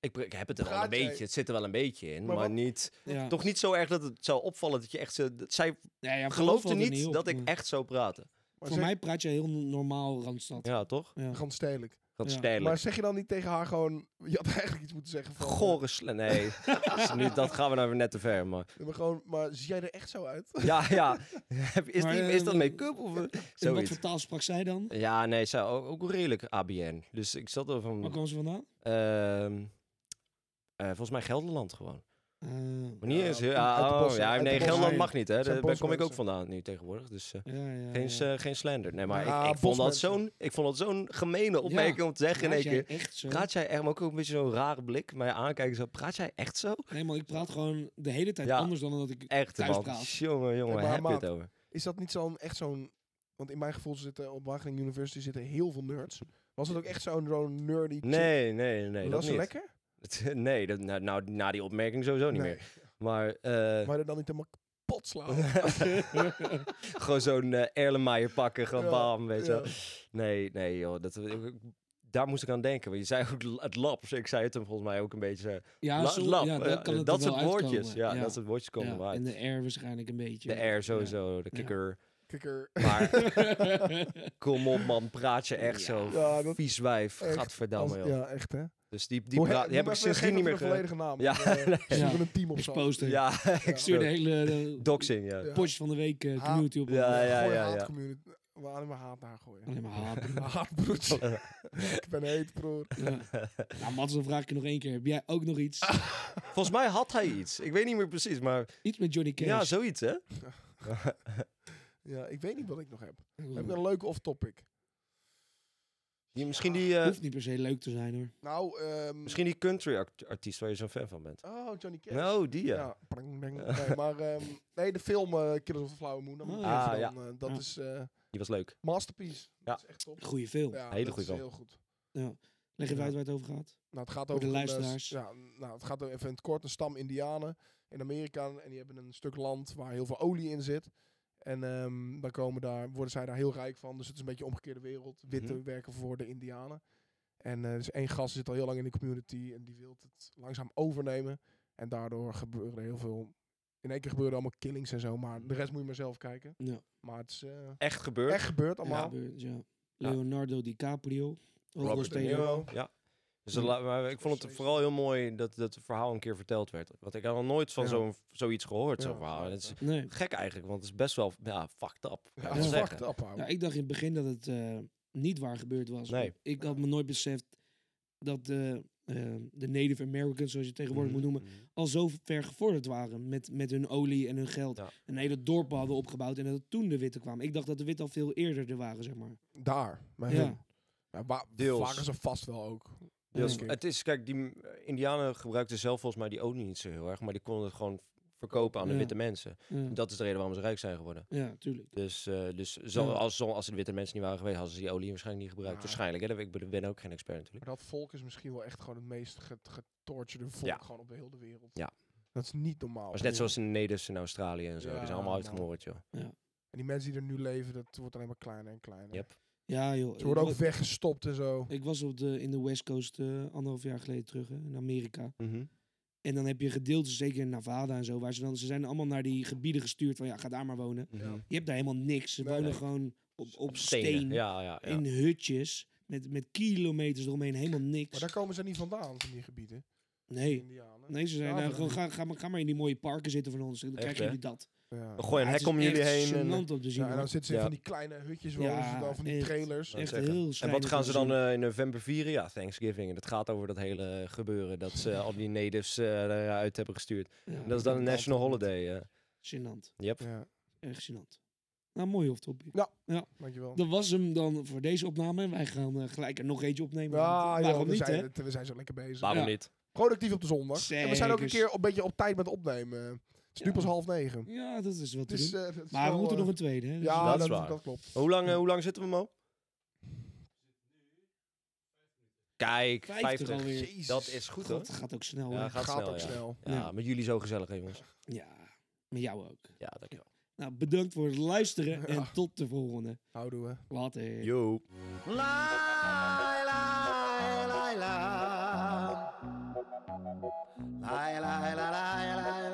Speaker 3: Ik, pr- ik heb het er wel
Speaker 2: Praat
Speaker 3: een
Speaker 2: jij-
Speaker 3: beetje, het zit er wel een beetje in.
Speaker 2: Maar
Speaker 3: Maar,
Speaker 2: wat-
Speaker 3: niet,
Speaker 1: ja.
Speaker 3: toch niet zo erg dat het zou opvallen dat je echt... zo- Dat, zij
Speaker 1: Nee, ja,
Speaker 3: geloofde
Speaker 1: valt er
Speaker 3: niet,
Speaker 1: op,
Speaker 3: dat ik
Speaker 1: maar-
Speaker 3: echt zou praten.
Speaker 2: Maar
Speaker 1: Voor
Speaker 2: zeg-
Speaker 1: mij praat je heel normaal Randstad.
Speaker 3: Ja, toch?
Speaker 1: Ja.
Speaker 2: Gewoon stedelijk.
Speaker 3: Dat is
Speaker 1: Ja.
Speaker 3: tijdelijk.
Speaker 2: Maar zeg je dan niet tegen haar gewoon... Je had eigenlijk iets moeten zeggen van...
Speaker 3: Gore sle- Nee, dat is niet- dat gaan we nou weer net te ver. Maar
Speaker 2: eh, Maar, gewoon, maar zie jij er echt zo uit?
Speaker 3: ja, ja. Is,
Speaker 1: Maar,
Speaker 3: die,
Speaker 1: eh,
Speaker 3: is dat
Speaker 1: wat-
Speaker 3: make-up of eh,
Speaker 1: En wat
Speaker 3: zoiets?
Speaker 1: voor taal sprak zij dan?
Speaker 3: Ja, nee, zij ook, ook redelijk ABN. Dus ik zat er van.
Speaker 1: Waar kwam ze vandaan?
Speaker 3: ehm, eh, volgens mij Gelderland gewoon.
Speaker 1: Ah,
Speaker 3: Maar niet
Speaker 2: Ja,
Speaker 3: eens.
Speaker 2: uit de
Speaker 3: Ja, oh,
Speaker 2: bossen,
Speaker 3: ja
Speaker 2: uit de
Speaker 3: nee,
Speaker 2: bossen.
Speaker 3: Gelderland mag niet, hè?
Speaker 2: zijn
Speaker 3: Daar daar kom ik ook
Speaker 2: bosmensen.
Speaker 3: vandaan nu tegenwoordig. Dus eh,
Speaker 1: ja, ja,
Speaker 3: geen,
Speaker 1: ja.
Speaker 3: eh, geen slander. Nee, maar
Speaker 2: Ja,
Speaker 3: ik, ik, vond dat
Speaker 2: bosmensen.
Speaker 3: zo'n, ik vond dat zo'n gemene opmerking om te zeggen in
Speaker 1: Praat
Speaker 3: één
Speaker 1: jij
Speaker 3: keer.
Speaker 1: echt zo?
Speaker 3: Praat jij echt, maar ook een beetje zo'n rare blik mij aankijken. Zo, praat jij echt zo?
Speaker 1: Nee, maar ik praat gewoon de hele tijd
Speaker 3: Ja.
Speaker 1: anders dan dat ik...
Speaker 3: Echt,
Speaker 1: Thuis
Speaker 3: man.
Speaker 1: praat.
Speaker 3: Jongen, jongen,
Speaker 2: maar
Speaker 3: heb je
Speaker 2: maat.
Speaker 3: het over?
Speaker 2: Is dat niet zo'n echt zo'n... Want in mijn gevoel zitten op Wageningen University zitten heel veel nerds. Was het ook echt zo'n zo'n nerdy chick?
Speaker 3: Nee, nee, nee.
Speaker 2: was
Speaker 3: Dat
Speaker 2: ze
Speaker 3: niet.
Speaker 2: lekker?
Speaker 3: Nee, dat, nou, nou, na die opmerking sowieso niet
Speaker 2: Nee.
Speaker 3: meer. Maar, eh,
Speaker 2: Maar er dan niet helemaal kapot slaan.
Speaker 3: gewoon zo'n eh Erlenmeyer pakken, gewoon
Speaker 2: Ja,
Speaker 3: bam, weet je
Speaker 2: ja.
Speaker 3: wel. Nee, nee joh, dat, ik- daar moest ik aan denken. Want je zei ook l- het lab, ik zei het hem volgens mij ook een beetje. eh,
Speaker 1: Ja,
Speaker 3: la-
Speaker 1: zo,
Speaker 3: lab,
Speaker 1: ja,
Speaker 3: eh,
Speaker 1: dan kan het
Speaker 3: dat
Speaker 1: er wel
Speaker 3: soort woordjes,
Speaker 1: uitkomen.
Speaker 3: ja, dat soort woordjes komen
Speaker 1: Ja,
Speaker 3: eruit.
Speaker 1: En de R waarschijnlijk een beetje.
Speaker 3: De R sowieso, de
Speaker 1: Ja.
Speaker 3: kikker.
Speaker 2: Kikker.
Speaker 3: Maar
Speaker 1: Ja.
Speaker 3: kom op man, praat je echt
Speaker 1: Ja.
Speaker 3: zo.
Speaker 2: Ja, dat-
Speaker 3: Vies wijf,
Speaker 2: echt,
Speaker 3: gadverdamme
Speaker 2: Als-
Speaker 3: joh.
Speaker 2: ja, echt hè.
Speaker 3: Dus die, die, praat- die heb ik sindsdien niet meer
Speaker 2: de
Speaker 3: ge...
Speaker 2: volledige naam.
Speaker 3: Ja,
Speaker 2: want, eh,
Speaker 3: nee.
Speaker 2: we zoeken een team op zo.
Speaker 1: Exposed her.
Speaker 3: Ja,
Speaker 1: Ik stuur de hele eh,
Speaker 3: doxing, ja.
Speaker 2: Ja.
Speaker 1: potjes van de week eh,
Speaker 2: Ah.
Speaker 1: community op.
Speaker 3: Ja, ja,
Speaker 2: Gooi
Speaker 3: ja,
Speaker 2: haat
Speaker 3: ja.
Speaker 2: community. We alleen maar haat naar haar gooien.
Speaker 1: Alleen maar haat.
Speaker 2: Haat broertje. Ik ben heet broer.
Speaker 1: Ja. Nou, Mats, dan vraag ik je nog één keer. Heb jij ook nog iets?
Speaker 3: Volgens mij had hij iets. Ik weet niet meer precies, maar
Speaker 1: Iets met Johnny Cash?
Speaker 3: ja, zoiets hè.
Speaker 2: Ja, ik weet niet wat ik nog heb. Heb ik
Speaker 1: Oeh,
Speaker 2: een leuke off-topic?
Speaker 3: Die, misschien, die, eh,
Speaker 1: Hoeft niet per se leuk te zijn, hoor.
Speaker 2: Nou, ehm
Speaker 3: misschien die country act- artiest waar je zo'n fan van bent.
Speaker 2: Oh, Johnny Cash.
Speaker 3: Nou, die ja.
Speaker 2: Ja, prang, prang. Nee, maar ehm, nee, de film eh, Killers of the Flower Moon. dat moet je
Speaker 1: Ah,
Speaker 2: even
Speaker 3: ja.
Speaker 2: dan, eh, dat
Speaker 1: Ja.
Speaker 2: is eh,
Speaker 3: Die was leuk.
Speaker 2: masterpiece.
Speaker 3: Ja.
Speaker 2: Dat is echt top.
Speaker 1: Goeie film.
Speaker 2: Ja,
Speaker 3: Hele
Speaker 2: dat
Speaker 3: goede
Speaker 2: is
Speaker 3: film.
Speaker 2: heel goed.
Speaker 1: Leg even
Speaker 2: Ja.
Speaker 1: uit waar het over gaat.
Speaker 2: Nou, het gaat
Speaker 1: Voor
Speaker 2: over
Speaker 1: de
Speaker 2: een, eh, s-
Speaker 1: luisteraars.
Speaker 2: ja, nou, het gaat over even in het kort een stam Indianen. in Amerika en die hebben een stuk land waar heel veel olie in zit. En ehm, dan komen daar, worden zij daar heel rijk van. Dus het is een beetje een omgekeerde wereld. Witte
Speaker 3: Mhm.
Speaker 2: werken voor de Indianen. En eh dus één gast zit al heel lang in de community en die wil het langzaam overnemen. En daardoor gebeuren er heel veel. In één keer gebeuren er allemaal killings en zo, maar de rest moet je maar zelf kijken.
Speaker 1: Ja.
Speaker 2: Maar het is eh,
Speaker 3: Echt gebeurd.
Speaker 2: echt gebeurd
Speaker 1: Ja,
Speaker 2: allemaal.
Speaker 1: gebeurt, ja.
Speaker 3: Ja.
Speaker 1: Leonardo DiCaprio.
Speaker 3: Robert
Speaker 1: Ook
Speaker 3: De
Speaker 1: speler.
Speaker 3: Niro, Ja. Dus dat
Speaker 1: Hmm.
Speaker 3: la- maar ik vond het
Speaker 2: Scorsese.
Speaker 3: vooral heel mooi dat dat verhaal een keer verteld werd. Want ik had nog nooit van
Speaker 2: Ja.
Speaker 3: zo'n, zoiets gehoord,
Speaker 2: Ja,
Speaker 3: zo'n verhaal. En het is
Speaker 1: Nee.
Speaker 3: gek eigenlijk, want het is best wel ja, fucked up. kan je
Speaker 2: Ja,
Speaker 3: wel
Speaker 1: dat is
Speaker 3: zeggen.
Speaker 2: fucked up, ouwe.
Speaker 1: Ja, ik dacht in het begin dat het eh, niet waar gebeurd was.
Speaker 3: Nee.
Speaker 1: Ik had me nooit beseft dat de, eh, de Native Americans, zoals je het tegenwoordig moet noemen,
Speaker 3: Mhm.
Speaker 1: al zo ver gevorderd waren met, met hun olie en hun geld.
Speaker 3: Ja.
Speaker 1: Een hele dorp hadden opgebouwd en dat het toen de witte kwamen. Ik dacht dat de witten al veel eerder er waren, zeg maar.
Speaker 2: Daar. Maar
Speaker 1: Ja.
Speaker 2: hun. Ja, wa-
Speaker 3: Deels.
Speaker 2: waren ze vast wel ook.
Speaker 3: Deels-
Speaker 2: Denk ik.
Speaker 3: Dus Het is, kijk, die m- Indianen gebruikten zelf volgens mij die olie niet zo heel erg, maar die konden het gewoon verkopen aan de
Speaker 1: Ja.
Speaker 3: witte mensen.
Speaker 1: Ja,
Speaker 3: Dat is de reden waarom ze rijk zijn geworden.
Speaker 1: ja tuurlijk.
Speaker 3: Dus, eh, dus zo,
Speaker 1: Ja.
Speaker 3: als, zo- als de witte mensen niet waren geweest, hadden ze die olie waarschijnlijk niet gebruikt.
Speaker 2: Ja.
Speaker 3: Waarschijnlijk, hè? dat- ik ben- ben ook geen expert natuurlijk.
Speaker 2: Maar dat volk is misschien wel echt gewoon het meest get- getortured volk
Speaker 3: Ja.
Speaker 2: gewoon op de hele wereld.
Speaker 3: Ja.
Speaker 2: Dat is niet normaal.
Speaker 3: was net
Speaker 2: Ja.
Speaker 3: zoals de Nederlanders in Australië en zo. die
Speaker 2: Ja,
Speaker 3: zijn allemaal
Speaker 2: man.
Speaker 3: uitgemoord, joh.
Speaker 2: En die mensen die er nu leven, dat wordt alleen maar kleiner en kleiner.
Speaker 3: Yep.
Speaker 1: Ja, joh.
Speaker 2: Ze worden ook
Speaker 1: Ik wa-
Speaker 2: weggestopt en zo.
Speaker 1: Ik was op de, in de West Coast eh, anderhalf jaar geleden terug, hè, in Amerika.
Speaker 3: Mhm.
Speaker 1: En dan heb je gedeeltes, zeker in Nevada en zo, waar ze dan, ze zijn allemaal naar die gebieden gestuurd van ja, ga daar maar wonen.
Speaker 3: Mhm.
Speaker 1: Je hebt daar helemaal niks. Ze
Speaker 2: Nee,
Speaker 1: wonen
Speaker 3: nee.
Speaker 1: gewoon op, op,
Speaker 3: stenen.
Speaker 1: steen,
Speaker 3: Ja, ja, ja.
Speaker 1: in hutjes, met, met kilometers eromheen, helemaal
Speaker 2: Maar
Speaker 1: niks.
Speaker 2: daar komen ze niet vandaan, van die gebieden. die
Speaker 1: Nee.
Speaker 2: Indianen.
Speaker 1: Nee, ze zijn
Speaker 2: Ja,
Speaker 1: nou,
Speaker 2: maar-
Speaker 1: gewoon, ga, ga, maar, ga maar in die mooie parken zitten van ons. Dan
Speaker 3: Echt,
Speaker 1: krijgen
Speaker 3: hè?
Speaker 1: jullie dat.
Speaker 2: Ja.
Speaker 3: We gooien een
Speaker 1: Ja,
Speaker 3: hek
Speaker 1: het
Speaker 3: om
Speaker 1: is
Speaker 3: jullie
Speaker 1: echt
Speaker 3: heen. En,
Speaker 1: gênant om te zien.
Speaker 2: Ja, en
Speaker 1: hoor.
Speaker 2: dan zitten ze in
Speaker 3: Ja.
Speaker 2: van die kleine hutjes wonen
Speaker 1: Ja,
Speaker 2: ze dan, van die
Speaker 1: echt.
Speaker 2: trailers.
Speaker 3: Ja.
Speaker 1: echt
Speaker 3: zeggen.
Speaker 1: heel
Speaker 3: en
Speaker 1: schrijnend
Speaker 3: wat
Speaker 1: om
Speaker 3: gaan
Speaker 1: te
Speaker 3: ze dan
Speaker 1: zien.
Speaker 3: eh, in november vieren? Ja, Thanksgiving. En dat gaat over dat hele eh, gebeuren dat ze al die natives eh, eruit hebben gestuurd.
Speaker 1: Ja,
Speaker 3: En eh, dat is dan een
Speaker 2: dat
Speaker 3: national
Speaker 2: altijd
Speaker 3: holiday. eh.
Speaker 1: Gênant.
Speaker 3: Yep.
Speaker 2: Ja,
Speaker 1: Erg gênant. Nou, mooi off topic.
Speaker 2: dankjewel.
Speaker 1: Dat was hem dan voor deze opname. En wij gaan eh, gelijk er nog eentje opnemen.
Speaker 2: Ja,
Speaker 1: want
Speaker 2: Ah, joh,
Speaker 1: waarom
Speaker 2: we,
Speaker 1: niet,
Speaker 2: zijn,
Speaker 1: hè?
Speaker 2: het- we zijn zo lekker bezig.
Speaker 3: Waarom
Speaker 1: Ja.
Speaker 3: niet?
Speaker 2: Productief op de zondag. En we zijn ook een
Speaker 1: Zekers.
Speaker 2: keer een beetje op tijd met opnemen. Het is
Speaker 1: Ja.
Speaker 2: nu pas half negen.
Speaker 1: Ja, dat is wat
Speaker 2: Het
Speaker 1: te
Speaker 2: is,
Speaker 1: doen.
Speaker 2: eh, het is
Speaker 1: Maar we
Speaker 2: wel,
Speaker 1: moeten
Speaker 2: eh,
Speaker 1: nog een tweede, hè? Dus-
Speaker 2: Ja,
Speaker 3: Dat is
Speaker 2: dat,
Speaker 3: waar.
Speaker 2: dat klopt.
Speaker 3: Hoe lang, eh, hoe lang zitten we, Mo? Kijk,
Speaker 1: 50
Speaker 3: 50.
Speaker 1: alweer.
Speaker 3: Dat is goed, hoor.
Speaker 1: God, gaat ook snel,
Speaker 3: Ja,
Speaker 1: hoor.
Speaker 3: gaat snel,
Speaker 2: ook
Speaker 3: ja.
Speaker 2: snel.
Speaker 3: Ja,
Speaker 1: Ja.
Speaker 3: met jullie zo gezellig, hè, jongens.
Speaker 1: Ja, met jou ook.
Speaker 3: Ja, dankjewel.
Speaker 1: Nou, bedankt voor het luisteren
Speaker 2: Ja.
Speaker 1: en tot de volgende.
Speaker 2: Houden we.
Speaker 1: Later.
Speaker 3: Yo.
Speaker 4: la la la la la la